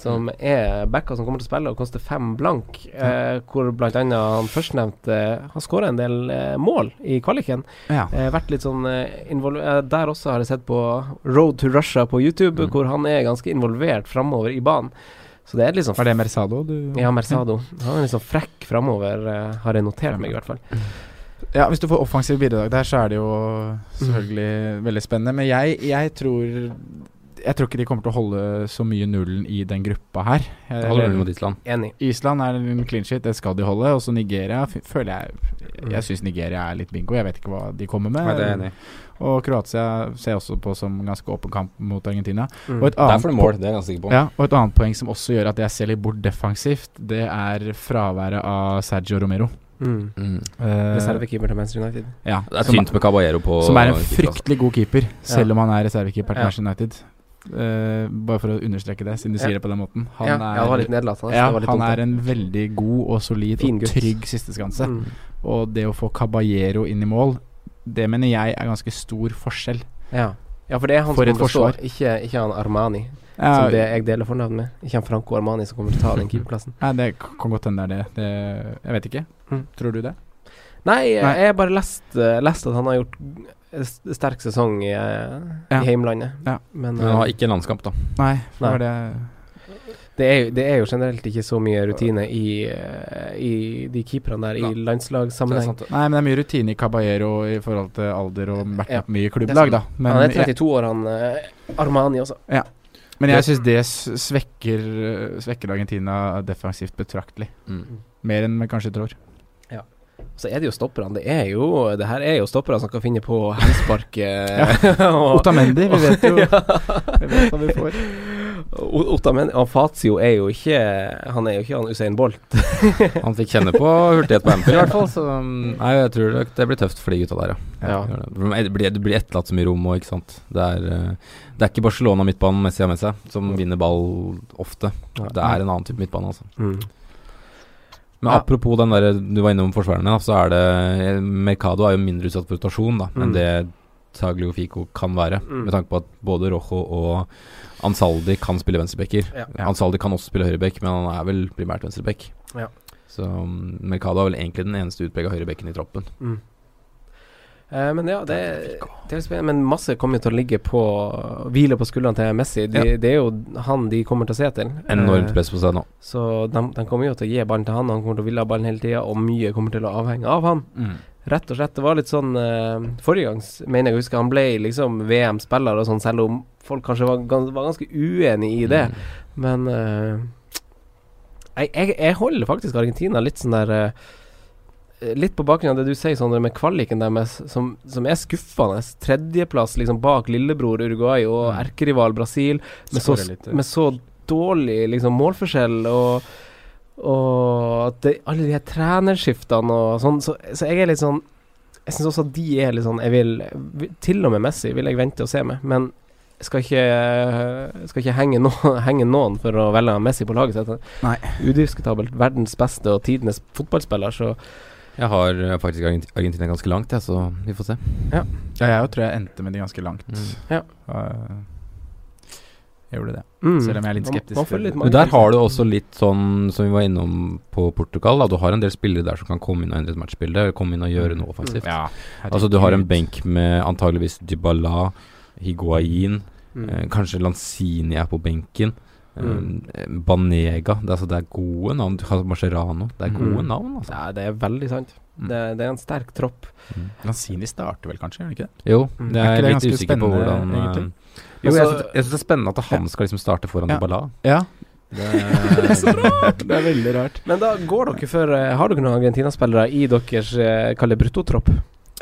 som er backer som kommer til å spille og koster fem blank. Eh, hvor blant annet han førstnevnte eh, har skåra en del eh, mål i kvaliken.
Ja.
Eh, vært litt sånn eh, involver- eh, Der også har jeg sett på Road to Russia på YouTube,
Mm.
hvor han er ganske involvert framover i banen. Så det er litt sånn
Var det Mersado du
Ja, Mersado. Han er litt sånn frekk framover, eh, har jeg notert meg i hvert fall.
Ja, hvis du får offensive bidrag der, så er det jo
Mhm.
selvfølgelig veldig spennende. Men jeg, jeg tror Jeg tror ikke de kommer til å holde så mye nullen i den gruppa her. Jeg-
Holder nullen mot Island.
Enig.
Island er en clean shit, det skal de holde. Og så Nigeria f føler jeg Jeg syns Nigeria er litt bingo. Jeg vet ikke hva de kommer med.
Nei, Mhm. det er jeg enig i.
Og Kroatia ser jeg også på som ganske åpen kamp mot Argentina.
Mm.
Og et
Mhm. Der
annet
får du mål, det er jeg ganske sikker på.
Ja, og et annet poeng som også gjør at jeg ser litt bort defensivt, det er fraværet av Sergio Romero.
Mm.
Mm.
Eh,
Reservekeeper til Manchester United.
ja,
Det er
som,
tynt med Caballero på
som er en
keeper, altså.
fryktelig god keeper, selv
Ja.
om han er reservekeeper til
Ja.
Manchester United. Eh, bare for å understreke det, siden du
Ja.
sier det på den måten. Han
ja.
er,
ja, det var litt nederlatende.
ja,
det var litt
han
dumt,
er en veldig god og solid
Fin
og
gutt.
trygg sisteskanse.
Mm.
Og det å få Caballero inn i mål, det mener jeg er ganske stor forskjell.
ja. ja, for det er han
For
som
et
kommer til å
forsvar.
stå, ikke, ikke han Armani,
Ja,
som det jeg deler fornavn med. Ikke han Franco Armani som kommer til å ta den keeperplassen.
Nei, det k- kan godt hende det er det. det. Jeg vet ikke.
Mm.
Tror du det?
Nei,
Nei.
jeg har bare lest, eh, lest at han har gjort eh, s- sterk sesong i, eh,
Ja.
i heimlandet.
Ja.
Men
Men han har
eh,
ikke en landskamp, da.
Nei. for
Nei.
det var det
det, er, jo- det er jo generelt ikke så mye rutine i, eh, i de keeperne der
Nei.
i landslagssammenheng.
Nei, men det er mye rutine i Caballero i forhold til alder og vært
Ja,
med på mye
er
klubblag,
sant.
da. Men,
han er
jeg,
32 år, han eh, Armani også.
men jeg syns det s- svekker, øh, svekker Argentina defensivt betraktelig.
Mm.
Mer enn vi kanskje tror.
Så er det jo stopperne. Det er jo Det her er jo stoppere som kan finne på henspark. eh, og-
Otamendi, vi vet jo
Ja.
vi vet hva vi får.
O- Otamendi og Fazio er jo ikke Han er jo ikke han Usain Bolt.
Han fikk kjenne på hurtighet på Anfield, i hvert fall. Så mm, nei, jeg tror nok det blir tøft for de gutta der, ja.
Ja.
Gjør det. Men Det blir, det blir etterlatt så mye rom òg, ikke sant. Det er, eh, det er ikke Barcelona midtbanen Messi har med seg, som vinner ball ofte. Det er en annen type midtbane, altså.
Mm.
Men
Ja.
apropos den der du var innom forsvarerne, da, så er det Mercado er jo mindre utsatt for rotasjon da, enn
Mm.
det Taglio Fico kan være.
Mm.
Med tanke på at både Rojo og Ansaldi kan spille venstrebacker.
Ja.
Ansaldi kan også spille høyreback, men han er vel primært venstreback.
Ja.
Så um, Mercado er vel egentlig den eneste utprega høyrebekken i troppen.
Eh, men ja, det, det er spennende. Men masse kommer jo til å ligge på Hvile på skuldrene til Messi. De, Det er jo han de kommer til å se til.
Enormt
Eh,
press på seg nå.
Så de, de kommer jo til å gi ballen til han, han kommer til å ville ha ballen hele tida, og mye kommer til å avhenge av han.
Mm.
Rett og slett. Det var litt sånn eh, Forrige gangs mener jeg å huske han ble liksom VM-spiller og sånn, selv om folk kanskje var, gans, var ganske uenig i det.
Mm.
Men eh, jeg, jeg, jeg holder faktisk Argentina litt sånn der eh, Litt på bakgrunn av det du sier, Sondre, med kvaliken deres, som, som er skuffende. Tredjeplass liksom bak lillebror Uruguay og
Mm.
erkerival Brasil, med så,
Skårer litt, eh.
med så dårlig liksom målforskjell og og at det, alle de her trenerskiftene og sånn, så, så jeg er litt sånn Jeg syns også at de er litt sånn Jeg vil vi- Til og med Messi vil jeg vente og se med, men jeg skal ikke, skal ikke henge, noen, henge noen for å velge Messi på laget sitt.
Nei.
Udiskutabelt verdens beste og tidenes fotballspiller, så
Jeg har eh, faktisk Argent- Argentina ganske langt, jeg, så vi får se.
Ja, jeg tror jeg endte med de ganske langt.
Mm.
Ja.
Eh, jeg gjorde det.
mm.
Selv om jeg er litt
Man-
skeptisk
man
til
føler
det.
litt
Men der har du også litt sånn som vi var innom på Portugal. Da. Du har en del spillere der som kan komme inn og endre et matchbilde. Komme inn og gjøre noe offensivt.
Mm. Ja,
Altså Du har en benk med antageligvis Dybala, Higuain, eh,
mm.
kanskje Lanzini er på benken. eh,
Mm.
eh, Banega. Det er, altså, det er gode navn. Du har Mascherano. Det er gode
Mm.
navn, altså. Mm.
Nei, det er veldig sant.
Mm.
Det, det er en sterk tropp.
Lanzini starter vel kanskje, gjør han ikke det?
Jo,
Mm.
det
Er
er,
ikke det
jeg
ganske
litt usikker på
spennende,
hvordan eh,
egentlig?
Jo, jeg
Altså-
syns jeg syns det er spennende at han skal liksom starte foran
Ja.
Dybala.
Ja,
Det, så rart!
det er veldig rart.
Men da går dere for eh, Har dere noen Argentina-spillere i deres eh, Kalle Brutto-tropp?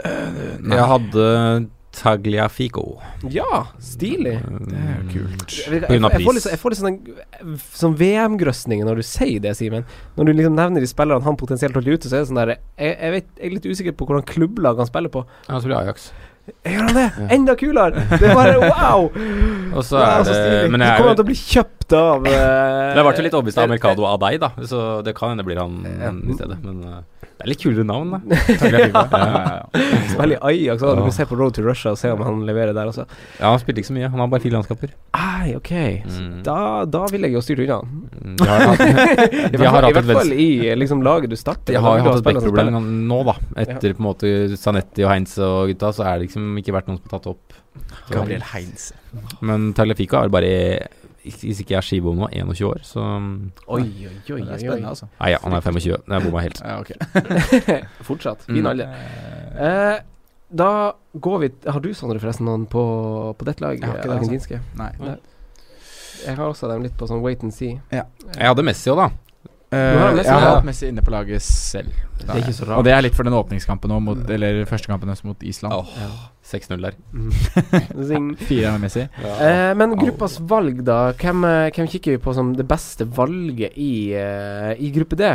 Jeg hadde Tagliafico.
Ja, stilig.
Det er jo kult.
Jeg, jeg,
På grunn av
jeg, får
pris.
litt sånn- jeg får litt sånn, en- sånn VM-grøsning når du sier det, Simen. Når du liksom nevner de spillerne han potensielt holder ute, så er det sånn der Jeg, jeg, vet, jeg er litt usikker på hvordan klubblag han spiller på.
Ja, så blir det Ajax.
Gjør han det?
Ja.
Enda kulere! Det er bare wow!
Og så
Wow,
er
så
det
stilig.
Men
Så
jeg er
kommer han
jo
til å bli kjøpt av eh,
Det ble jo litt overbevist av Mercado av deg, da, så det kan hende det blir han
Ja.
i stedet. Men eh, det er litt kulere navn, da.
Tagliafico. Ja, ja, ja.
Spiller i Ajax også. Du kan se på Road to Russia og se om han leverer der også.
Ja, han spilte ikke så mye. Han har bare fire landskamper.
Ai, ok. Så
Mm.
Da, da vil jeg jo styre unna. han.
Mm, De har hatt,
I
de
hvert
har hatt
fall- i hvert
et venstre
fall i eh, liksom, laget du
De
starter. Da
har jo
vil du
hatt et
spillere som
backproblem
spiller.
nå, da. Etter på en måte Zanetti og Heinze og gutta, så er det liksom ikke vært noen som har tatt opp.
Gabriel Heinz.
Men Tagliafico er vel bare Hvis ikke jeg er skibom nå, 21 år, så
Oi, oi, oi.
Det er
oi, oi.
spennende, altså. Eh,
Nei, ja, han er 25. Jeg bomma helt.
Ja, ok.
Fortsatt. Fin
Mm.
alder. Eh, da går vi Har du, Sondre, forresten noen på, på ditt lag?
Jeg har ikke det, altså.
argentinske?
Nei.
Jeg har også dem litt på sånn wait and see.
Jeg hadde Messi òg, da.
Eh,
har han
jeg
Messi,
har
ja.
hatt Messi inne på laget selv.
Det er ikke så
Og
rart.
det er litt for den åpningskampen nå, mot, eller første kampen også mot Island.
Åh. 6-0 der.
Mm. Zing.
Fire med Messi.
Eh, men gruppas valg, da. Hvem, eh, hvem kikker vi på som det beste valget i, eh, i gruppe D?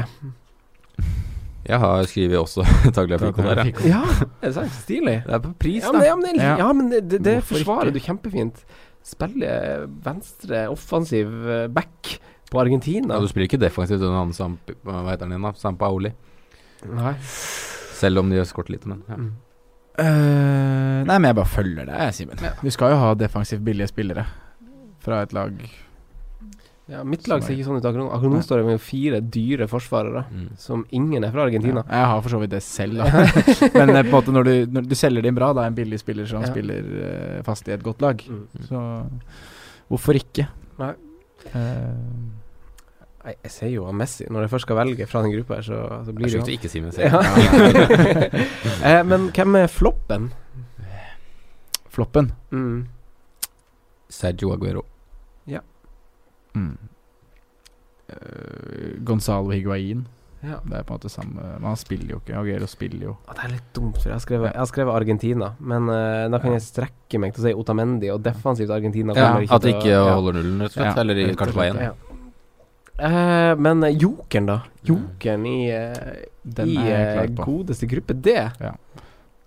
Jeg har skrevet også Tagliafico der, jeg.
Ja, er det sant? Stilig.
Det er på pris,
Ja, men, det- ja, men, det-
Ja.
ja, men det, det, det
Hvorfor
forsvarer
ikke?
du kjempefint. Spiller venstre offensiv eh, back på Argentina.
Ja, du spiller ikke defensivt under han Samp... Hva heter han igjen, da? Sampaoli.
Nei.
Selv om de gjør skort litt, men ja.
Mm.
Eh, nei, men jeg bare følger deg, Simen. Du skal jo ha defensivt billige spillere fra et lag.
Ja, mitt lag ser ikke sånn ut akkurat nå. Akkurat nå står det med fire dyre forsvarere,
Mm.
som ingen er fra Argentina.
Jeg har for så vidt det selv, da. men eh, på en måte når du, når du selger det inn bra, det er en billig spiller som
Ja.
spiller eh, fast i et godt lag.
Mm.
Så hvorfor ikke?
Nei.
Eh,
Nei, jeg sier jo Messi. Når jeg først skal velge fra den gruppa her, så, så blir
Det er
det
sjukt
jo
å ikke si men
ja. eh, Men hvem er floppen?
floppen.
Mm.
Sergio Aguero.
Mm. Eh, Gonzalo Higuain.
Ja.
Det er på en måte samme Men han spiller jo ikke. Aguero spiller jo.
Å, det er litt dumt, for jeg har skrevet, jeg har skrevet Argentina. Men eh, da kan jeg strekke meg til å si Otamendi, og defensivt Argentina
Ja,
kommer
at de ikke
til å- ja.
holder nullen, rett og slett.
Ja,
Eller
rett og
kanskje bare
slett,
én.
ja. Eh, men eh, jokeren, da? Jokeren i, eh,
Den
i
er jeg
eh,
klar på.
godeste gruppe D.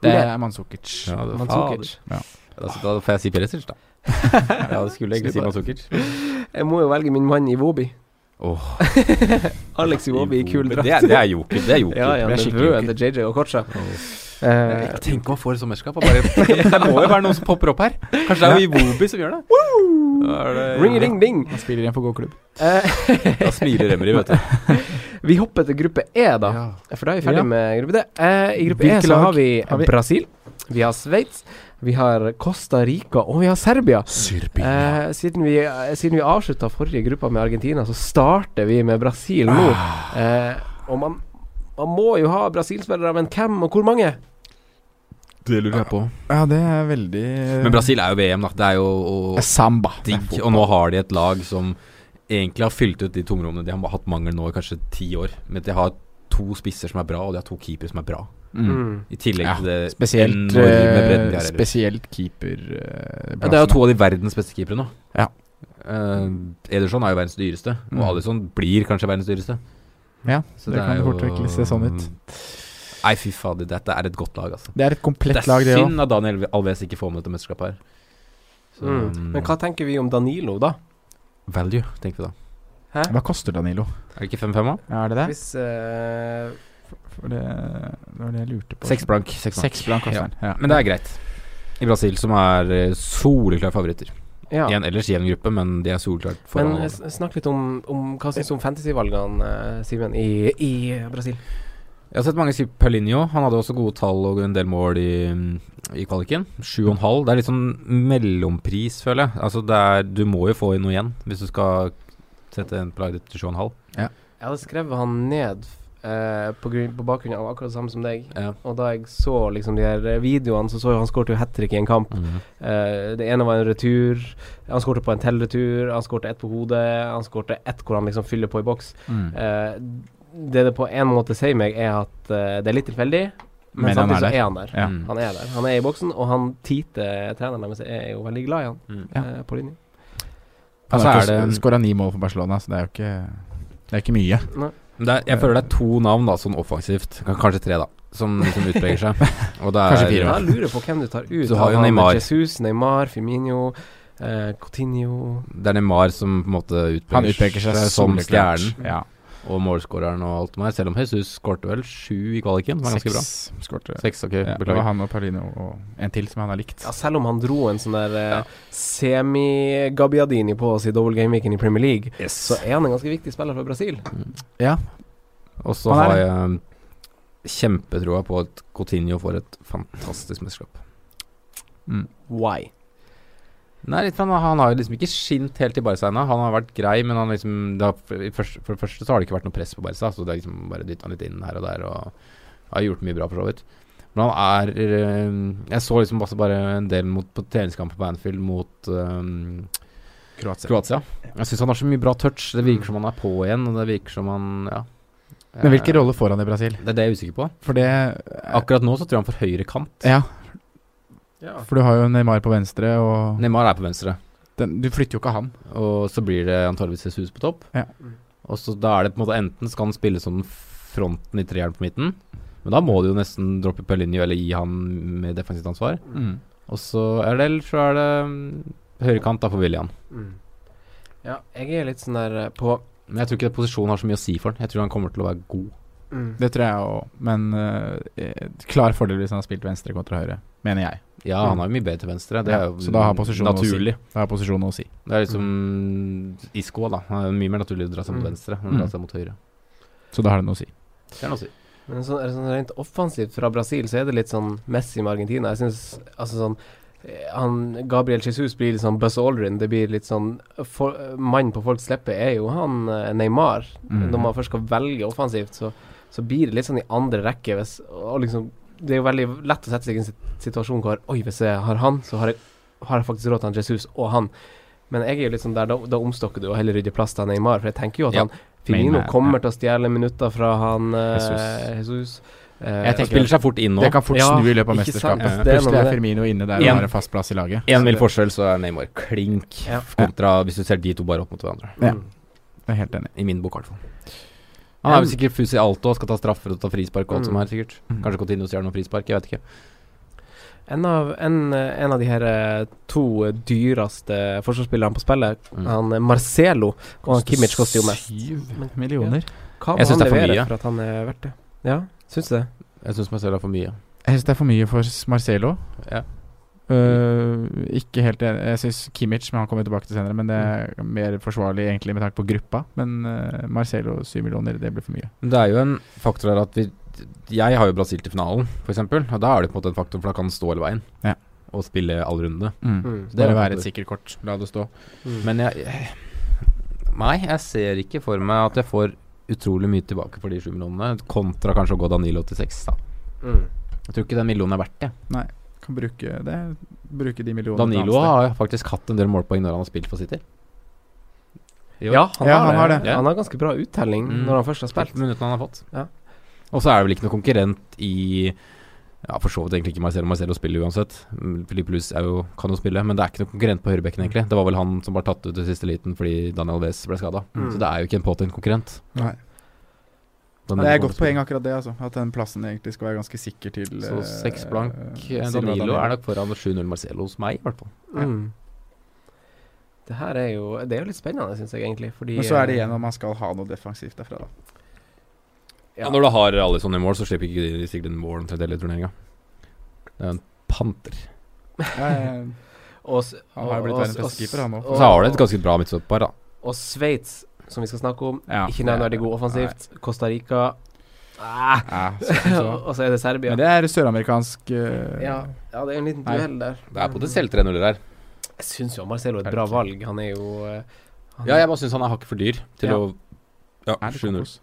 Det er Manzukic.
Ja, det-
Mandzukic.
fader. Da, da får jeg si Peresic, da. ja, det skulle egentlig si Manzukic.
Jeg må jo velge min mann Iwobi.
Åh,
Alex Iwobi i kul drakt.
Det, er- det er joker. Det er joker.
Ja, ja,
Det er
den
skikkelig
røde JJ og Kocha. Eh,
Jeg tenker man får et sånt mesterskap. og Bare, det må jo være noen som popper opp her. Kanskje det er jo Iwobi som gjør det. Da er det-
ring, ring, ring.
Han spiller i en for god klubb.
Eh,
Da smiler Emry, vet du.
vi hopper til gruppe E, da.
Ja.
For da er vi ferdig
Ja.
med gruppe D. Eh, I gruppe
Hvilke
E så
lag
har vi,
har vi?
Brasil, vi har Sveits, vi har Costa Rica, og vi har Serbia. Eh, siden vi, eh, siden vi avslutta forrige gruppa med Argentina, så starter vi med Brasil nå.
Ah.
Eh, og man, man må jo ha Brasil-spillere, men hvem og hvor mange?
Det lurer jeg på.
Ja, det er veldig
Men Brasil er jo VM, da. Det er jo og,
Samba.
digg. Og nå har de et lag som egentlig har fylt ut de tomrommene de har hatt mangel nå i kanskje ti år. Men de har to spisser som er bra, og de har to keepere som er bra.
Mm.
I tillegg
Ja,
til det
Spesielt,
enorme bredden de
eh,
har ellers.
spesielt keeper eh,
Ja, det er jo
plassene.
to av de verdens beste keepere nå.
Ja.
Eh, Ederson er jo verdens dyreste,
Mm.
og Alisson blir kanskje verdens dyreste.
Ja,
Så
det, kan
er
jo
jo- eh,
fort vekk se sånn ut.
Nei, fy fader, dette er et godt lag, altså.
Det er et komplett
Det er
lag, det òg.
synd at Daniel Alves ikke får med dette mesterskapet her. Så, um,
Mm. Men hva tenker vi om Danilo, da?
Value, tenker vi da.
Hæ?
Hva koster Danilo?
Er det ikke 5-5, da?
Ja, er det det?
Hvis eh,
For det, det var det jeg lurte på.
Seks blank. Seks blank.
Seks blank koster den. Ja.
Men det er greit. I Brasil, som er eh, soleklare favoritter.
Ja.
I en ellers jevn gruppe, men de er soleklart foran.
Men eh,
alle.
s- snakk litt om, om hva syns du om fantasyvalgene, eh, Simen, i, i Brasil?
Jeg har sett mange si Paulinho. Han hadde også gode tall og en del mål i, mm, i kvaliken. Sju og en halv. Det er litt sånn mellompris, føler jeg. Altså det er, du må jo få inn noe igjen hvis du skal sette en plagg til sju og en halv.
Jeg hadde skrevet han ned eh, eh, på, grunn, på bakgrunn av akkurat det samme som deg.
Ja.
Og da jeg så liksom de her eh, videoene, så så jeg han skåret jo hat trick i en kamp.
Mhm.
Eh, det ene var en retur. Han skårte på en tellretur. Han skårte ett på hodet. Han skårte ett hvor han liksom fyller på i boks.
Mm.
Eh, det det på en måte sier meg, er at eh, det er litt tilfeldig, men,
Men han
samtidig
er
så
der.
er han der.
Ja.
Mm.
Han er der. Han er i boksen, og han Tite, treneren deres, er jo veldig glad i han
Mm.
Ja.
eh, på linje.
Altså, er det-
Skåra ni mål for Barcelona, så det er jo ikke Det er ikke mye.
Men det er, jeg føler det er to navn, da, sånn offensivt. K- Kanskje tre, da. Som liksom utpreger seg. Og det er,
Kanskje fire,
Da lurer jeg på hvem du tar ut.
Du har jo
Han er
Neymar.
Jesus, Neymar, Firmino, eh, Coutinho
Det er Neymar som på en måte utpeker,
Han utpeker seg
som
soleklart.
stjernen.
Ja.
Og målskåreren og alt mer. Selv om Jesus skårte vel sju i kvaliken, som er ganske bra.
Seks skårte.
Seks, ok,
Ja, det var
beklager.
han og Paulino og en til som han har likt.
ja, Selv om han dro en sånn der eh, semi-Gabiadini på oss i double game-weeken i Premier League, så er han en ganske viktig spiller for Brasil.
Og så
Han er
har jeg um, kjempetroa på at Coutinho får et fantastisk mesterskap.
mm.
Why?
Nei, litt, han, han har jo liksom ikke skint helt i Barca ennå. Han har vært grei, men han liksom det har, for, i først- for det første så har det ikke vært noe press på Barca, så det har liksom bare dytta han litt inn her og der, og har gjort mye bra, for så vidt. Men han er eh, Jeg så liksom også bare en del mot, på treningskamp på Banfield mot eh,
Kroatia.
Kroatia. Jeg syns han har så mye bra touch. Det virker som han er på igjen, og det virker som han Ja.
Men hvilken
Eh,
rolle får han i Brasil?
Det er det jeg er usikker på.
For det
Akkurat nå så tror jeg han får høyre kant.
Ja,
Ja.
for du har jo Neymar på venstre, og
Neymar er på venstre.
den, du flytter jo ikke han.
Og så blir det antageligvis Jesus på topp.
Ja.
Mm.
Og så da er det på en måte enten skal han spille som den fronten i treeren på midten, men da må du jo nesten droppe Pellinio eller gi han med defensivt ansvar.
Mm.
Og så er det ellers så er det mm, høyrekant da for William.
Mm. Ja, jeg er litt sånn der eh, på
Men jeg tror ikke det posisjonen har så mye å si for han. Jeg tror han kommer til å være god.
mm.
Det tror jeg òg, men eh, klar fordel hvis han har spilt venstre kontra høyre, mener jeg.
Ja,
Mm.
han er jo mye bedre til venstre. Det
Ja,
er jo
så da har posisjonen å si.
naturlig.
Da har posisjonen noe å si.
Det er liksom Isco, da. Det er mye mer naturlig å dra seg mot
Mm.
venstre enn å dra
Mm.
seg mot høyre.
Så da har det noe å si.
Det er noe å si.
Men sånn, er det sånn rent offensivt fra Brasil, så er det litt sånn Messi med Argentina. Jeg synes, altså sånn eh, han, Gabriel Jesus blir litt sånn Buzz Aldrin. Det blir litt sånn for, Mannen på folks leppe er jo han eh, Neymar.
Mm.
Når man først skal velge offensivt, så, så blir det litt sånn i andre rekke. Hvis, og liksom, det er jo veldig lett å sette seg i en sit- situasjon hvor Oi, hvis jeg har han, så har jeg, har jeg faktisk råd til han Jesus og han. Men jeg er jo litt sånn der, da, da omstokker du og heller rydder plass til Neymar, for jeg tenker jo at
Ja.
han Firmino
Neymar,
kommer
ja.
til å stjele minutter fra han eh,
Jesus.
Jesus. Eh,
Jeg
tenker-
spiller seg fort inn nå.
Det kan fort
Ja,
snu i løpet av
ikke sant?
mesterskapet.
Ja.
Det er noe
Plutselig
med
er
det.
Firmino inne der
Ja.
og har en fast plass i laget.
Én mil forskjell, så er Neymar klink
Ja.
kontra hvis du ser de to bare opp mot hverandre.
Ja.
Mm.
Jeg er helt enig.
I min bok, i hvert fall. Han er
Mm.
jo sikkert fus i alt og skal ta straffer og ta frispark og alt som
Mm.
er, sikkert.
Mm.
Kanskje Coutinho stjeler noen frispark, jeg vet ikke.
En, av, en, eh, en av de her eh, to dyreste forsvarsspillerne på spillet,
Mm.
han eh, Marcelo og han Kimmich koster jo mest.
Syv millioner.
Hva må
Jeg synes
han
det er for
levere
mye.
for at han er verdt det? Ja, syns du det?
Jeg syns Marcelo er for mye.
Jeg syns det er for mye for Marcelo.
Ja.
Øh, ikke helt enig. Jeg syns Kimmich, men han kommer tilbake til senere, men det er mer forsvarlig egentlig med tanke på gruppa. Men øh, Marcelo syv millioner, det blir for mye.
Men Det er jo en faktor her at vi Jeg har jo Brasil til finalen, f.eks., og da er det på en måte en faktor, for da kan han stå hele veien
Ja.
og spille all runde.
Mm.
Det er
Bare
en faktor.
være et sikkert kort. La det stå.
Men jeg Nei, jeg ser ikke for meg at jeg får utrolig mye tilbake for de sju millionene, kontra kanskje å gå Danilo til seks, da.
Mm.
Jeg tror ikke den millionen er verdt det.
Kan bruke det. Bruke de millionene.
Danilo har faktisk hatt en del målpoeng når han har spilt for City. Jo.
Ja, han,
Ja,
har,
han har
det.
det.
Han har ganske bra uttelling
Mm.
når han først har spilt.
Minuttene han har fått.
Ja.
Og så er det vel ikke noe konkurrent i Ja, for så vidt egentlig ikke Marcelo. Marcelo spiller uansett. Mm, Filipe Luis er jo, kan jo spille, men det er ikke noe konkurrent på høyrebekken, egentlig. Det var vel han som var tatt ut i siste liten fordi Daniel Wes ble skada.
Mm.
Så det er jo ikke en påtent konkurrent.
Nei. Det er et godt poeng, akkurat det. altså At den plassen egentlig skal være ganske sikker til
Så
øh,
seks blank. eh,
Silva
Danilo er nok foran 7-0 Marcelo hos meg, i hvert fall.
Ja.
Mm. Det her er jo Det er jo litt spennende, syns jeg egentlig. Fordi, eh,
Men så er det igjen om man skal ha noe defensivt derfra, da.
Ja.
Når du har Alison i mål, så slipper ikke de sikkert en mål omtrent hele turneringa. Det er en panter.
Ja, jeg-
Og s-
eh, Han har jo blitt
og-
verdens
og-
beste keeper, han nå.
og-
Og så har du et ganske bra midtstopper, da.
Og Sveits, som vi skal snakke om,
Ja.
ikke nevneverdig god offensivt. Costa Rica ah.
Ja, så, så.
Og så er det Serbia.
Men det er søramerikansk øh,
ja, ja, det er jo en liten
Nei.
duell der.
Det er potensielt 3-0 her.
Jeg syns jo Marcelo er et
Er det
bra
ikke?
valg. Han er jo eh, han,
Ja, jeg bare syns han er hakket for dyr til
Ja.
å Ja,
Er det
7-0.
kokos?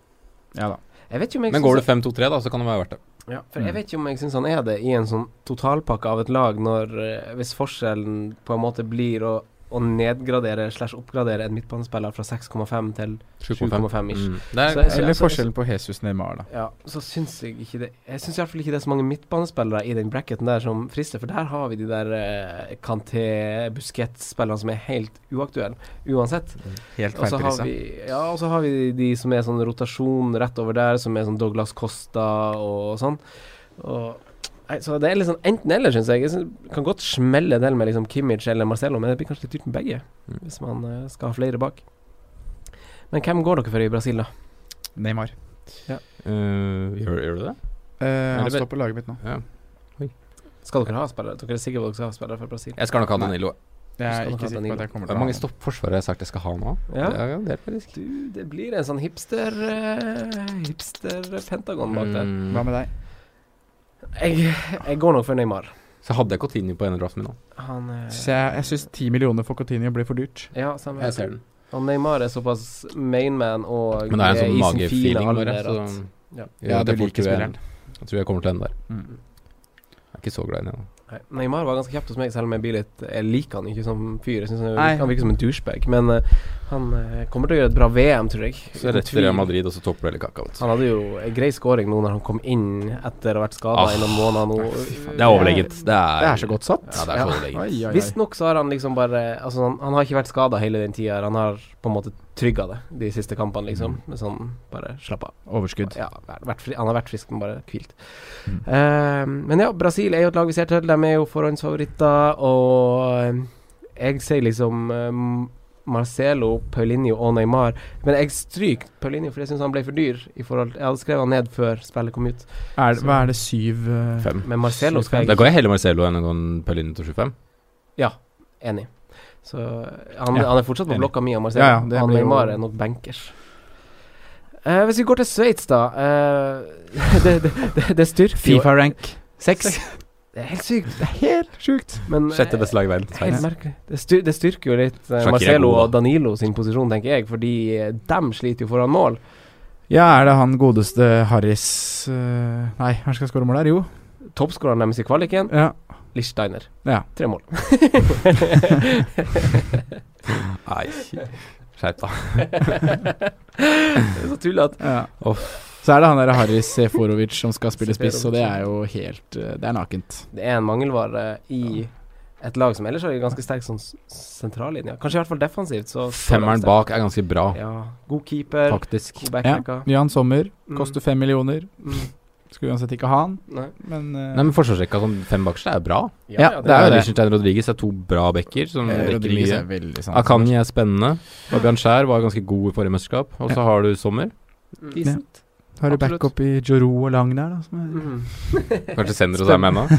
Ja da.
Jeg vet ikke om jeg
Men
synes-
går det 5-2-3, da, så kan det være verdt det.
Ja, for jeg
Mm.
vet ikke om jeg syns han er det i en sånn totalpakke av et lag, når, eh, hvis forskjellen på en måte blir å, å nedgradere slash oppgradere en midtbanespiller fra 6,5 til 7,5 ish.
Mm. Det er,
Så jeg synes- altså,
Eller
jeg
forskjellen på Jesus Neymar, da.
Ja, så syns jeg ikke det Jeg syns iallfall ikke det er så mange midtbanespillere i den bracketen der som frister, for der har vi de der eh, Kanté, Busquets-spillerne som er helt uaktuelle uansett.
Helt
Og så har
feilprisa.
vi, ja, og så har vi de som er sånn rotasjon rett over der, som er sånn Douglas Costa og sånn. Og, nei, så det er litt sånn enten-eller, syns jeg. Jeg synes, kan godt smelle del med liksom Kimmich eller Marcello, men det blir kanskje litt dyrt med begge, hvis man eh, skal ha flere bak. Men hvem går dere for i Brasil, da?
Neymar.
Øh, gjør, gjør du det?
Eh, han
det
står på laget mitt nå.
Ja.
Skal dere ha spillere? Dere er sikre på at dere skal ha spillere fra Brasil?
Jeg skal nok ha
Nei.
Danilo.
Jeg
skal nok
er
ha
ikke sikker på
Danilo.
at jeg kommer
Hvor
til
mange
ha
stoppforsvarere har jeg sagt jeg skal ha nå?
Ja.
Det er en del, faktisk.
Du, det blir en sånn hipster eh, hipster-pentagon bak der.
han. Hva
Mm.
med deg?
Jeg, jeg går nok for Neymar.
Så hadde jeg Coutinho på en draft min nå.
Han eh,
Så jeg jeg syns ti millioner for Coutinho blir for dyrt.
Ja, samme
Jeg ser den.
Og Neymar er såpass mainman og
Men det er en sånn
i sin fine
magefeeling bare.
alder
Så
at- ja.
Ja, du
derfor
liker
tror jeg-
spilleren.
Jeg tror jeg kommer til den der.
Mm.
Jeg er ikke så glad i den. jeg, da.
Nei, Neymar var ganske kjapt hos meg, selv om jeg blir litt Jeg liker han ikke som fyr. Jeg synes han,
Nei.
virker- han virker som en douchebag. Men eh, han eh, kommer til å gjøre et bra VM, tror jeg.
Så
Uten
rett til Real
tvil.
Madrid, og så topper du hele kakao.
Han hadde jo en grei scoring nå når han kom inn etter å ha vært skada
Ah.
i noen måneder nå.
Det er overlegent. Det er,
Det er så godt satt.
Ja, det er så
Ja.
overlegent.
Oi, oi, oi.
Visstnok så har han liksom bare Altså, han, han har ikke vært skada hele den tida. Han har på en måte trygga det de siste kampene, liksom.
Mm.
Med sånn bare slapp av.
Overskudd.
Ja, vært- vært fri, han har vært frisk, men bare hvilt.
Mm.
Eh, men ja, Brasil er jo et lag vi ser til. De er jo forhåndsfavoritter, og eh, jeg sier liksom eh, Marcelo, Paulinho og Neymar. Men jeg stryker Paulinho, for jeg syns han ble for dyr. I forhold, jeg hadde skrevet han ned før spillet kom ut.
Er, hva er det, syv eh,
Fem.
Men Marcelo skal
Da
jeg
går jeg heller Marcelo enn å gå en Pauline til 25.
enig. Så han,
Ja,
han er fortsatt på
enig.
blokka mi av Marcelo.
Ja, ja, det
han
blir jo-
Neymar er nok bankers. Eh, hvis vi går til Sveits, da. eh, det, det, det, det styrker jo
Fifa-rank?
Seks. Det er helt sykt. Det er helt sjukt. Men,
Sjette beste lag i verden.
eh,
Sveits.
Helt merkelig. Det, styr, det styrker jo litt eh,
Shakira er
Marcelo
god,
og Danilo sin posisjon, tenker jeg, fordi eh, dem sliter jo foran mål.
Ja, er det han godeste Harris eh, Nei, han skal skåre mål der, jo.
Toppskåreren deres i kvaliken,
Ja.
Lichsteiner.
Ja.
Tre mål.
Nei, skjerp deg.
Det er så tull at
ja. Så er det han der Harris Seforovic som skal spille spiss,
Seferovic,
og det
ja.
er jo helt eh, Det er nakent.
det er en mangelvare i et lag som ellers har en ganske sterk sånn s- sentrallinje. Kanskje i hvert fall defensivt. Så
Femmeren bak er ganske bra,
Ja. God keeper.
faktisk.
God
Ja.
backbacker.
Jan Sommer
Mm,
koster fem millioner.
mm,
Skulle uansett ikke ha han,
Nei.
men, eh,
Nei, men Forsvarsrekka som fem bakerste er bra.
Ja, det er jo det.
Liechtenstein Rodriguez er to bra backer som
eh,
rekker
Rodriguez
mye.
er veldig sånn
Akanyi er spennende. Fabian Skjær var ganske god i forrige mesterskap. Og så
Ja.
har du Sommer.
Mm.
Ja. Har du
Absolutt.
backup i Joro og Lang der, da? Som er
Mm.
Kanskje Sender og Sam ennå.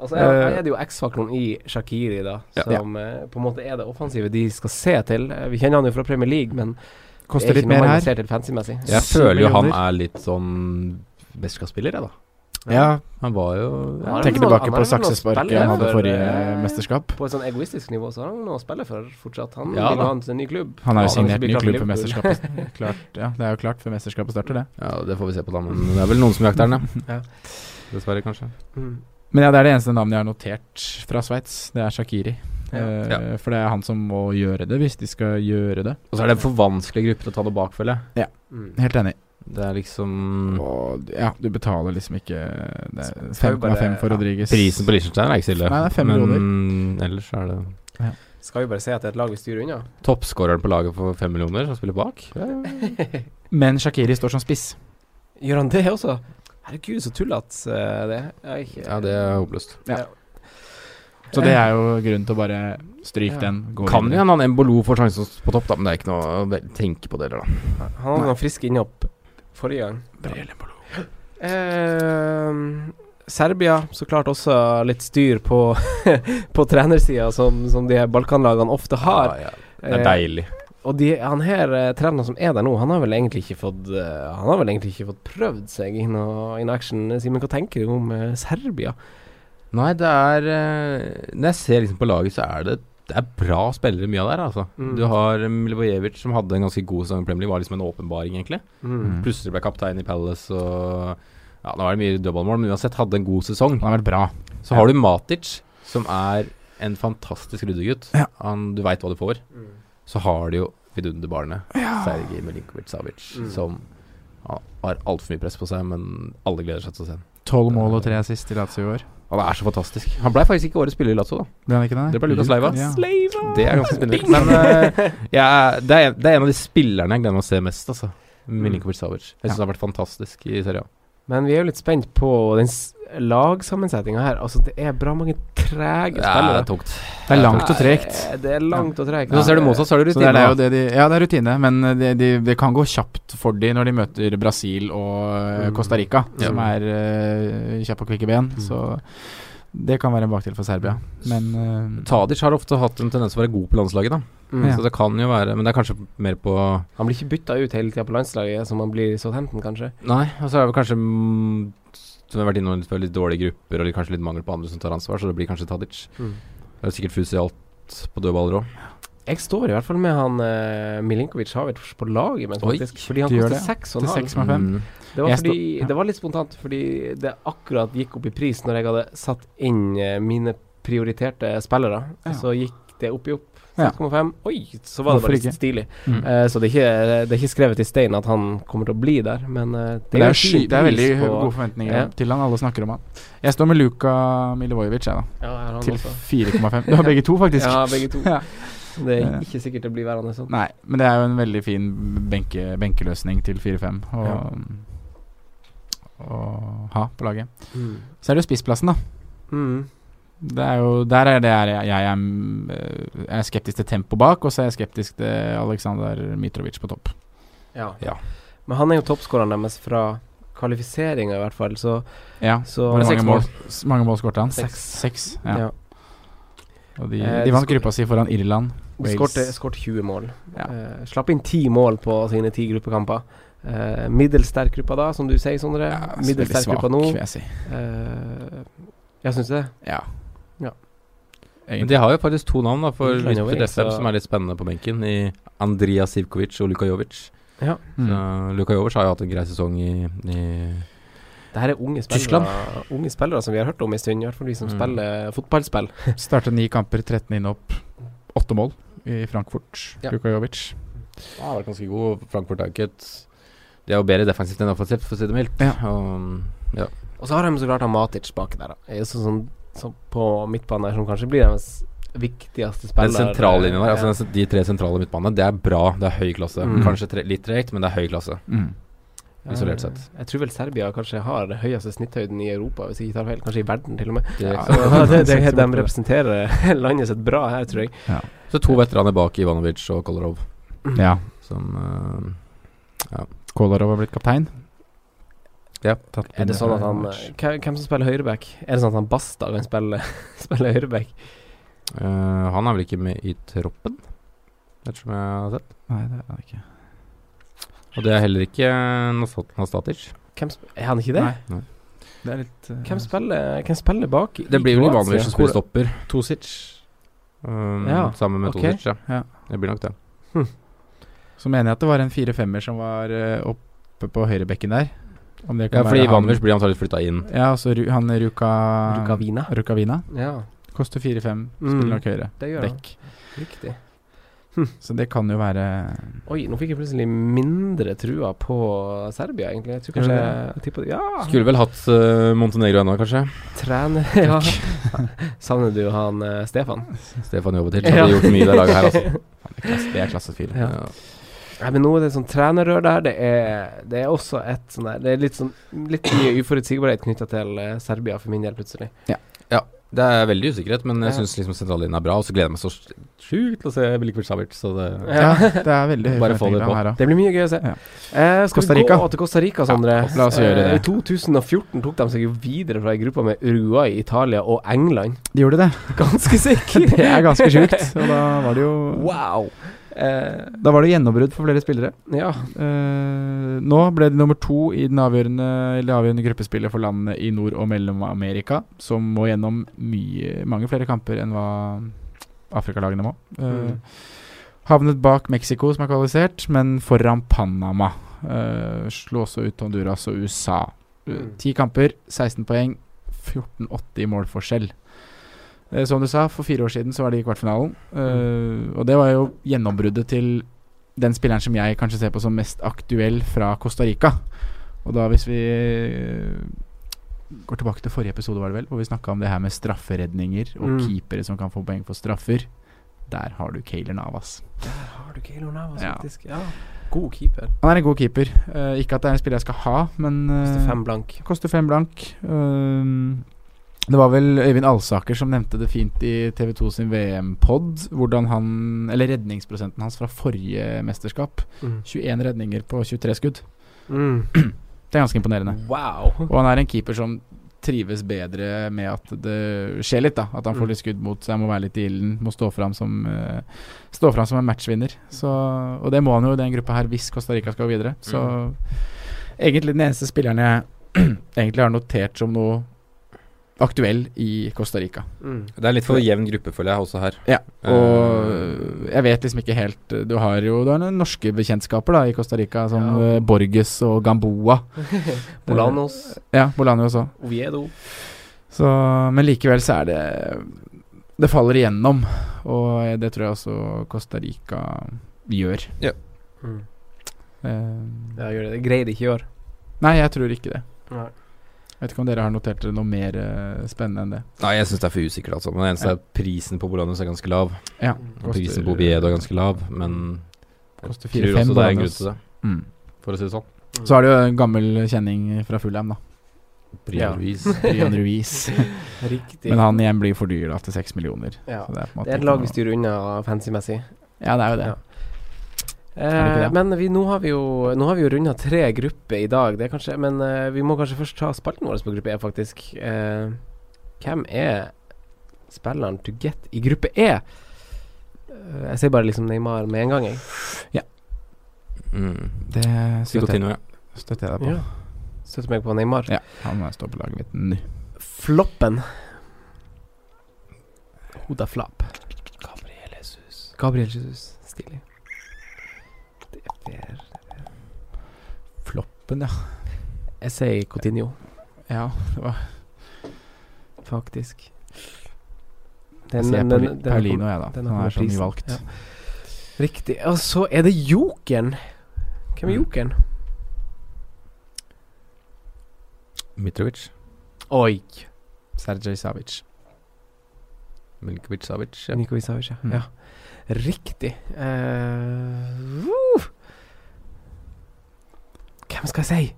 Og så er,
Eh,
Altså, er det jo X-faktoren i Shakiri, da,
Ja.
som eh, på en måte er det offensive de skal se til. Eh, Vi kjenner han jo fra Premier League, men
Koster
det er
litt
ikke
mer
noe man
her.
ser til fancy-messig.
Ja.
Jeg
Syv
føler jo han
millioner.
er litt sånn mesterskapsspiller, jeg, da.
Ja,
Han var jo ja.
Han er
Tenker
vel noe-
tilbake
han er
på
vel noe å
saksesparket
spille
han hadde
for,
forrige
eh,
mesterskap.
På et sånn egoistisk nivå så har han noe å spille for fortsatt. Han
Ja,
vil
da.
jo ha en ny klubb.
Han er
Ja, han
jo signert
blir
ny
klart
klubb
for
før
Liverpool.
mesterskapet klart, ja, Det er jo klart før mesterskapet starter, det.
ja, det får vi se på, da. Men det er vel noen som jakter han, ja.
Ja.
Dessverre, kanskje.
Mm.
Men ja, det er det eneste navnet jeg har notert fra Sveits. Det er Shakiri.
Ja.
Eh,
Ja.
For det er han som må gjøre det, hvis de skal gjøre det.
Og så er det en for vanskelig gruppe til å ta det bak, føler jeg.
Eh,
Mm.
Helt enig.
Det er liksom
Mm. Og ja, du betaler liksom ikke det er
Skal vi bare-
5,5 for
ja.
Rodriguez.
Prisen på Liechtenstein er ikke så ille.
Nei, det er fem
men ellers er det
Skal vi bare se at det er et lag vi styrer unna?
toppskåreren på laget for fem millioner som spiller bak.
Men Shakiri står som spiss.
Gjør han det også? Herregud, så tullete eh, det er. Jeg-
Ja, det er håpløst.
Så det er jo grunnen til å bare stryke
Ja.
den. Gå
Kan jo
videre.
hende han Embolo får sjansen på topp, da, men det er ikke noe å vel- tenke på det heller, da.
Han hadde noen friske innhopp forrige gang. Ehm, Serbia, så klart også litt styr på, på trenersida, som, som de her balkanlagene ofte har.
Ja, ja. Det er deilig.
Eh, og de, han her eh, treneren som er der nå, han har vel egentlig ikke fått eh, Han har vel egentlig ikke fått prøvd seg in, in action. Simen, hva tenker du om eh, Serbia?
Nei, det er eh, Når jeg ser liksom på laget, så er det det er bra spillere mye av der, altså.
Mm.
Du har Milivojevic som hadde en ganske god sesong i Premier League, var liksom en åpenbaring, egentlig.
Mm.
Mm.
Plutselig ble kaptein i Palace og Ja, nå er det mye dødballmål, men uansett hadde en god sesong.
Han har vært bra.
Så har du Matic, som er en fantastisk ryddegutt.
Ja.
Han- Du veit hva du får. Så har du jo vidunderbarnet Sergij Milinkovic-Savic,
Mm.
som ja, har altfor mye press på seg, men alle gleder seg til å se ham.
Tolv mål og tre assist i Lazio i år.
Han er så fantastisk. Han blei faktisk ikke årets spiller i Lazio, da.
Ble han ikke det?
Det ble Lucas Leiva.
Ja.
Det er ganske spinnvilt. Men eh, jeg er- det, er, det er en av de spillerne jeg gleder meg å se mest, altså. Milinkovic-Savic. Jeg syns
Ja.
han har vært fantastisk i Serie A.
Men vi er jo litt spent på den s- lagsammensetninga her. Altså, det er bra mange trege
Ja,
spillere.
det er tungt.
Det er langt og tregt.
Eh, Det er langt og tregt.
Men så ser du motsatt, så har du
Så det
rutine.
er, det er jo
da.
det de, ja, det er rutine, men det de, det kan gå kjapt for de når de møter Brasil og eh,
Mm.
Costa Rica,
Ja. Mm.
som er uh, kjappe og kvikke ben. Så det kan være en bakdel for Serbia. Men eh,
Tadic har ofte hatt en tendens til å være god på landslaget, da.
Mm.
Så det kan jo være Men det er kanskje mer på
Han blir ikke bytta ut hele tida på landslaget, som han blir i Southampton, kanskje.
Nei, og så er det kanskje mm, Som vi har vært innom, litt, litt dårlige grupper og litt, kanskje litt mangel på andre som tar ansvar, så det blir kanskje Tadic. Det er jo sikkert fusialt på dødballer òg.
Jeg står i hvert fall med han eh, Milinkovic Havic på laget, men
Oi,
faktisk. Fordi han
du gjør
koster
det,
seks og
til
en halv.
6,5.
Sånn
Mm.
Det var,
Jeg
fordi,
står- ja.
det var litt spontant, fordi det akkurat gikk opp i pris når jeg hadde satt inn eh, mine prioriterte spillere.
Ja.
Så gikk det opp i opp.
Ja.
6,5. Oi, så var det
Hvorfor
bare
ikke?
litt stilig.
Mm.
Eh, så det er, ikke, det er ikke skrevet i stein at han kommer til å bli der, men eh,
det, er
en
jo sky,
fin
det er veldig
pris på-
gode forventninger
Ja.
til han. Alle snakker om han. Jeg står med Luka Milivojevic, jeg, da.
Ja, jeg har han
Til
også.
4,5. Du har begge to, faktisk.
Ja, begge to.
Ja.
Det
Ja.
er ikke sikkert det blir værende sånn.
Nei, men det er jo en veldig fin benke, benkeløsning til 4-5 å å ha på laget.
Mm.
Så er det jo spissplassen, da.
Mm.
Det er jo, der er det jeg, jeg, er, mm, eh, jeg er skeptisk til tempo bak, og så er jeg skeptisk til Aleksandr Mitrovic på topp.
Ja.
Ja.
Men han er jo toppskåreren deres fra kvalifiseringa, i hvert fall, så,
Ja.
så
Hvor mange
Seks
mål, s- mange mål skårte han?
Seks.
Seks,
Ja.
ja. Og de,
Eh, de
de vant
skår-
gruppa si foran Irland. Wales.
Skårte skårte 20 mål.
Ja.
Eh, slapp inn 10 mål på sine 10 gruppekamper. Eh, middels sterk gruppa da, som du sier, Sondre.
Ja, så
middels
veldig
sterk
svak,
gruppa nå.
vil jeg si.
Eh, jeg syns det.
Ja.
Ja.
Men
Egentlig.
de har jo faktisk to navn da for
Litt landover,
lytter
så-
som er litt spennende på benken, i Andrija Sivkovic og Luka Jovic.
Mm.
Så Luka Jovic har jo hatt en grei sesong i, i
Det her er unge
Tyskland.
spillere, unge spillere som vi har hørt om en stund, i hvert fall de som
Mm.
spiller fotballspill.
Startet ni kamper, 13 inn opp. Åtte mål i Frankfurt.
Ja.
Luka Jovic.
Ja, har vært ganske god. Frankfurt er ikke et De er jo bedre defensivt enn offensivt, for å si det mildt.
Ja.
Og,
Og så har de så klart han Matic bak der, da. Eh, Sånn som som på midtbanen her, som kanskje blir deres viktigste spiller. eh,
Den sentrallinjen der, altså
Ja.
den sen- de tre sentrale midtbanene, det er bra. Det er høy klasse.
Mm.
Kanskje tre, litt tregt, men det er høy klasse.
Mm.
isolert
Eh,
sett.
Jeg tror vel Serbia kanskje har det høyeste snitthøyden i Europa, hvis jeg ikke tar feil. Kanskje i verden, til og med.
Det-
Ja.
Så det, det,
Seks
de
mot-
representerer landet sitt bra her, tror jeg.
Så to veteraner bak Ivanovic og Kolarov,
Ja.
som eh,
Kolarov har blitt kaptein.
Ja.
Tatt
Er det sånn at han
Mitrovic.
eh, hva- Hvem som spiller høyreback? Er det sånn at han Basta kan spille, spille høyreback?
eh, Han er vel ikke med i troppen, ettersom jeg har sett.
Nei, det er han ikke.
Og det er heller ikke Nastat- Nastatic.
Hvem sp er han ikke det?
Nei.
Nei.
Det er litt eh,
Hvem spiller, hvem spiller bak? i
Det blir vel
Kroatia?
Ivanovic som spiller
Hvor-
stopper,
Tosic.
um,
Ja,
sammen med
ok.
Tosic. Ja.
Ja.
Det blir nok det.
Så mener jeg at det var en fire-femmer som var eh, oppe på høyrebekken der. Om det kan
Ja,
være
fordi
han-
Ivanovic blir antakelig flytta inn.
Ja, og så Ru- han Ruka
Rukavina.
Rukavina.
Ja,
Koster fire-fem,
Mm.
spiller nok høyre.
det gjør han.
Dekk.
Riktig.
Så det kan jo være
Oi, nå fikk jeg plutselig mindre trua på Serbia, egentlig. Jeg tror
Gjør du
kanskje jeg tipper det. Ja!
Skulle vel hatt eh, Montenegro ennå, kanskje.
Trener Ja. Savner du han eh, Stefan?
Stefan Jovetic hadde gjort mye i det laget her, altså.
Det er klasse fire.
Ja. Nei, men nå er det sånn trenerrør der. Det er, det er også et sånn der Det er litt sånn Litt mye uforutsigbarhet knytta til eh, Serbia, for min del, plutselig.
Det er veldig usikkerhet, men jeg
Ja.
syns liksom sentrallinjen er bra. Og så gleder jeg meg så sjukt til å se Milikvic Savic, så det
Ja,
Ja.
det er veldig høye
Bare få det
forventninger
på.
her, da.
Det blir mye gøy å se.
Ja.
Eh, skal
Costa
vi
Rica.
gå til Costa Rica, Sondre?
Ja, la oss gjøre
Eh, I
det.
2014 tok de seg jo videre fra ei gruppe med Uruguay, Italia og England.
De gjorde det.
Ganske sikker!
Det er ganske sjukt. Og da var det jo
wow! Eh,
Da var det gjennombrudd for flere spillere.
ja.
Eh, nå ble de nummer to i den avgjørende, eller det avgjørende gruppespillet for landene i Nord- og Mellom-Amerika, som må gjennom mye, mange flere kamper enn hva Afrikalagene må. Eh, Havnet bak Mexico, som er kvalifisert, men foran Panama. Eh, slo også ut Honduras og USA. Eh,
Mm.
Ti kamper, 16 poeng, 14-80 i målforskjell. Eh, som du sa, for fire år siden så var de i kvartfinalen. Eh, og det var jo gjennombruddet til den spilleren som jeg kanskje ser på som mest aktuell fra Costa Rica. Og da hvis vi eh, går tilbake til forrige episode, var det vel, hvor vi snakka om det her med strafferedninger og
Mm.
keepere som kan få poeng for straffer. Der har du Kayler Navas.
Der har du Keylor Navas,
Ja.
faktisk. Ja. God keeper.
Han er en god keeper. Eh, ikke at det er en spiller jeg skal ha, men eh,
Koster fem blank.
koster fem blank. Ehm, det var vel Øyvind Alsaker som nevnte det fint i TV2 sin VM-pod, hvordan han Eller redningsprosenten hans fra forrige mesterskap. 21 redninger på 23 skudd.
Mm.
Det er ganske imponerende.
Wow.
Og han er en keeper som trives bedre med at det skjer litt, da. At han
Mm.
får litt skudd mot seg, må være litt i ilden, må stå fram som eh, Stå fram som en matchvinner. Så, og det må han jo i den gruppa her hvis Costa Rica skal videre. Så egentlig den eneste spilleren jeg egentlig har notert som noe aktuell i Costa Rica.
Mm.
Det er litt for jevn gruppe, føler jeg, også her.
Ja, og
Eh,
jeg vet liksom ikke helt Du har jo du har noen norske bekjentskaper da i Costa Rica, som
Ja.
eh, Borges og Gamboa.
Bolanos,
Ja, Bolano også.
Oviedo.
Så, men likevel så er det Det faller igjennom, og det tror jeg også Costa Rica gjør.
Mm.
Eh,
Ja, gjør det. Det greide ikke i år.
Nei, jeg tror ikke det.
Nei.
Jeg vet ikke om dere har notert dere noe mer eh, spennende enn det.
Nei, jeg syns det er for usikkert, altså. Men det eneste
Ja.
er at prisen på Bolanos er ganske lav.
Ja,
Og
Og prisen
koster-
på Oviedo er ganske lav. Men
Koster
jeg tror
4-5
også det er en
bananer.
grunn til det,
Mm.
for å si det sånn.
Så er det jo en gammel kjenning fra Fulham, da.
Brian
Ja.
Ruiz.
Brian Ruiz.
Riktig.
eh, Men han igjen blir for dyr, da, til seks millioner.
ja.
Så det er på en måte
Det er et
ikke
lag vi
noe-
styrer unna fancy-messig.
Ja, det er jo det.
Ja.
det
Eh,
ikke det?
men vi, nå har vi jo, nå har vi jo runda tre grupper i dag, det er kanskje, men eh, vi må kanskje først ta spalten vår på gruppe E, faktisk. Eh, hvem er spilleren to get i gruppe E? Eh, jeg sier bare liksom Neymar med en gang, jeg.
Mm.
Det støtter, jeg-
Psykotino, ja.
støtter jeg deg på.
Ja. Støtter meg på Neymar.
Ja, han står på laget mitt nå.
Floppen. Hoda flap. Gabriel Jesus. Gabriel Jesus. Stilig. Det er fair.
Floppen, ja.
Jeg sier Coutinho,
Ja, det var
faktisk.
Jeg ser Pauli- Paulino, jeg, da.
den har
han er så
prisen.
mye valgt.
Ja. Riktig. Og så er det jokeren. Hvem er
Mm.
jokeren?
Mitrovic.
Oi.
Sergej Savic.
Milinkovic Savic. Ja.
Niko Isavic, ja.
Mm.
ja. Riktig. Eh, uh. Hvem skal jeg si?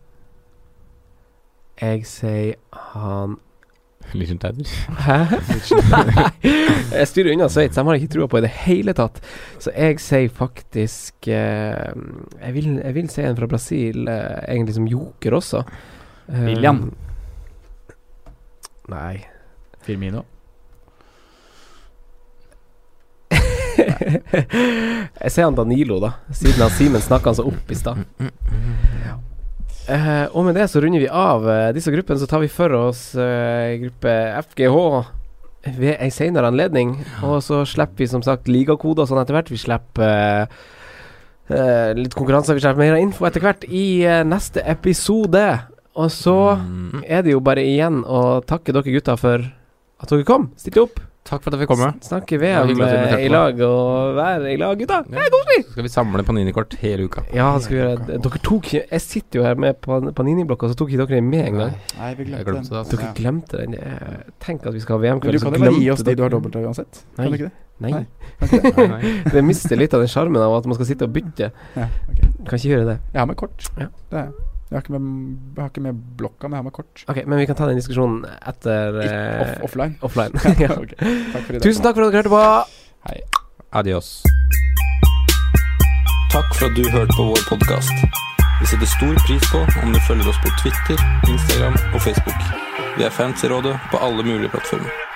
Jeg sier han
Lichtensteiner.
Hæ? Nei. Jeg styrer unna Sveits, de har jeg ikke trua på i det hele tatt. Så jeg sier faktisk eh, jeg, vil, jeg vil si en fra Brasil, eh, egentlig som joker også. Eh,
William.
Nei.
Firmino.
jeg ser han Danilo, da. Siden han Simen snakka han så opp i stad. Eh, og med det så runder vi av eh, disse gruppene. Så tar vi for oss eh, gruppe FGH ved ei seinere anledning. Og så slipper vi som sagt ligakoder og sånn etter hvert. Vi slipper eh, eh, litt konkurranser. Vi slipper mer info etter hvert i eh, neste episode. Og så
Mm.
er det jo bare igjen å takke dere gutta for at dere kom. Stilte opp.
Takk for at jeg fikk komme.
S- Snakke
Det var
VM
hyggelig at dere
eh,
inviterte
i lag og være i lag, gutta.
Så skal vi samle Panini-kort hele uka.
Ja, han skulle gjøre det. Dere tok Jeg sitter jo her med pan- Panini-blokka, så tok ikke dere den med en gang.
Nei, vi
Jeg glemte det. Altså.
Dere glemte den. Jeg- Tenk at vi skal ha
Men
VM-kveld,
du
så
kan jo bare gi
glemte
oss de du
dere
har dobbelt av uansett. Kan du
Nei.
ikke det?
Nei.
Nei, nei.
Det mister litt av den sjarmen av at man skal sitte og bytte.
Ja, ok.
Kan ikke gjøre det.
Jeg har med kort.
Ja.
Det er. jeg. Jeg har, ikke med, jeg har ikke med blokka, men jeg har med kort.
Ok, Men vi kan ta den diskusjonen etter eh,
Off offline.
offline.
Ja,
ja.
ok. Takk for i dag.
Tusen takk for at dere hørte på.
Hei.
Adios.
Takk for at du hørte på vår podkast. Vi setter stor pris på om du følger oss på Twitter, Instagram og Facebook. Vi er fans i rådet på alle mulige plattformer.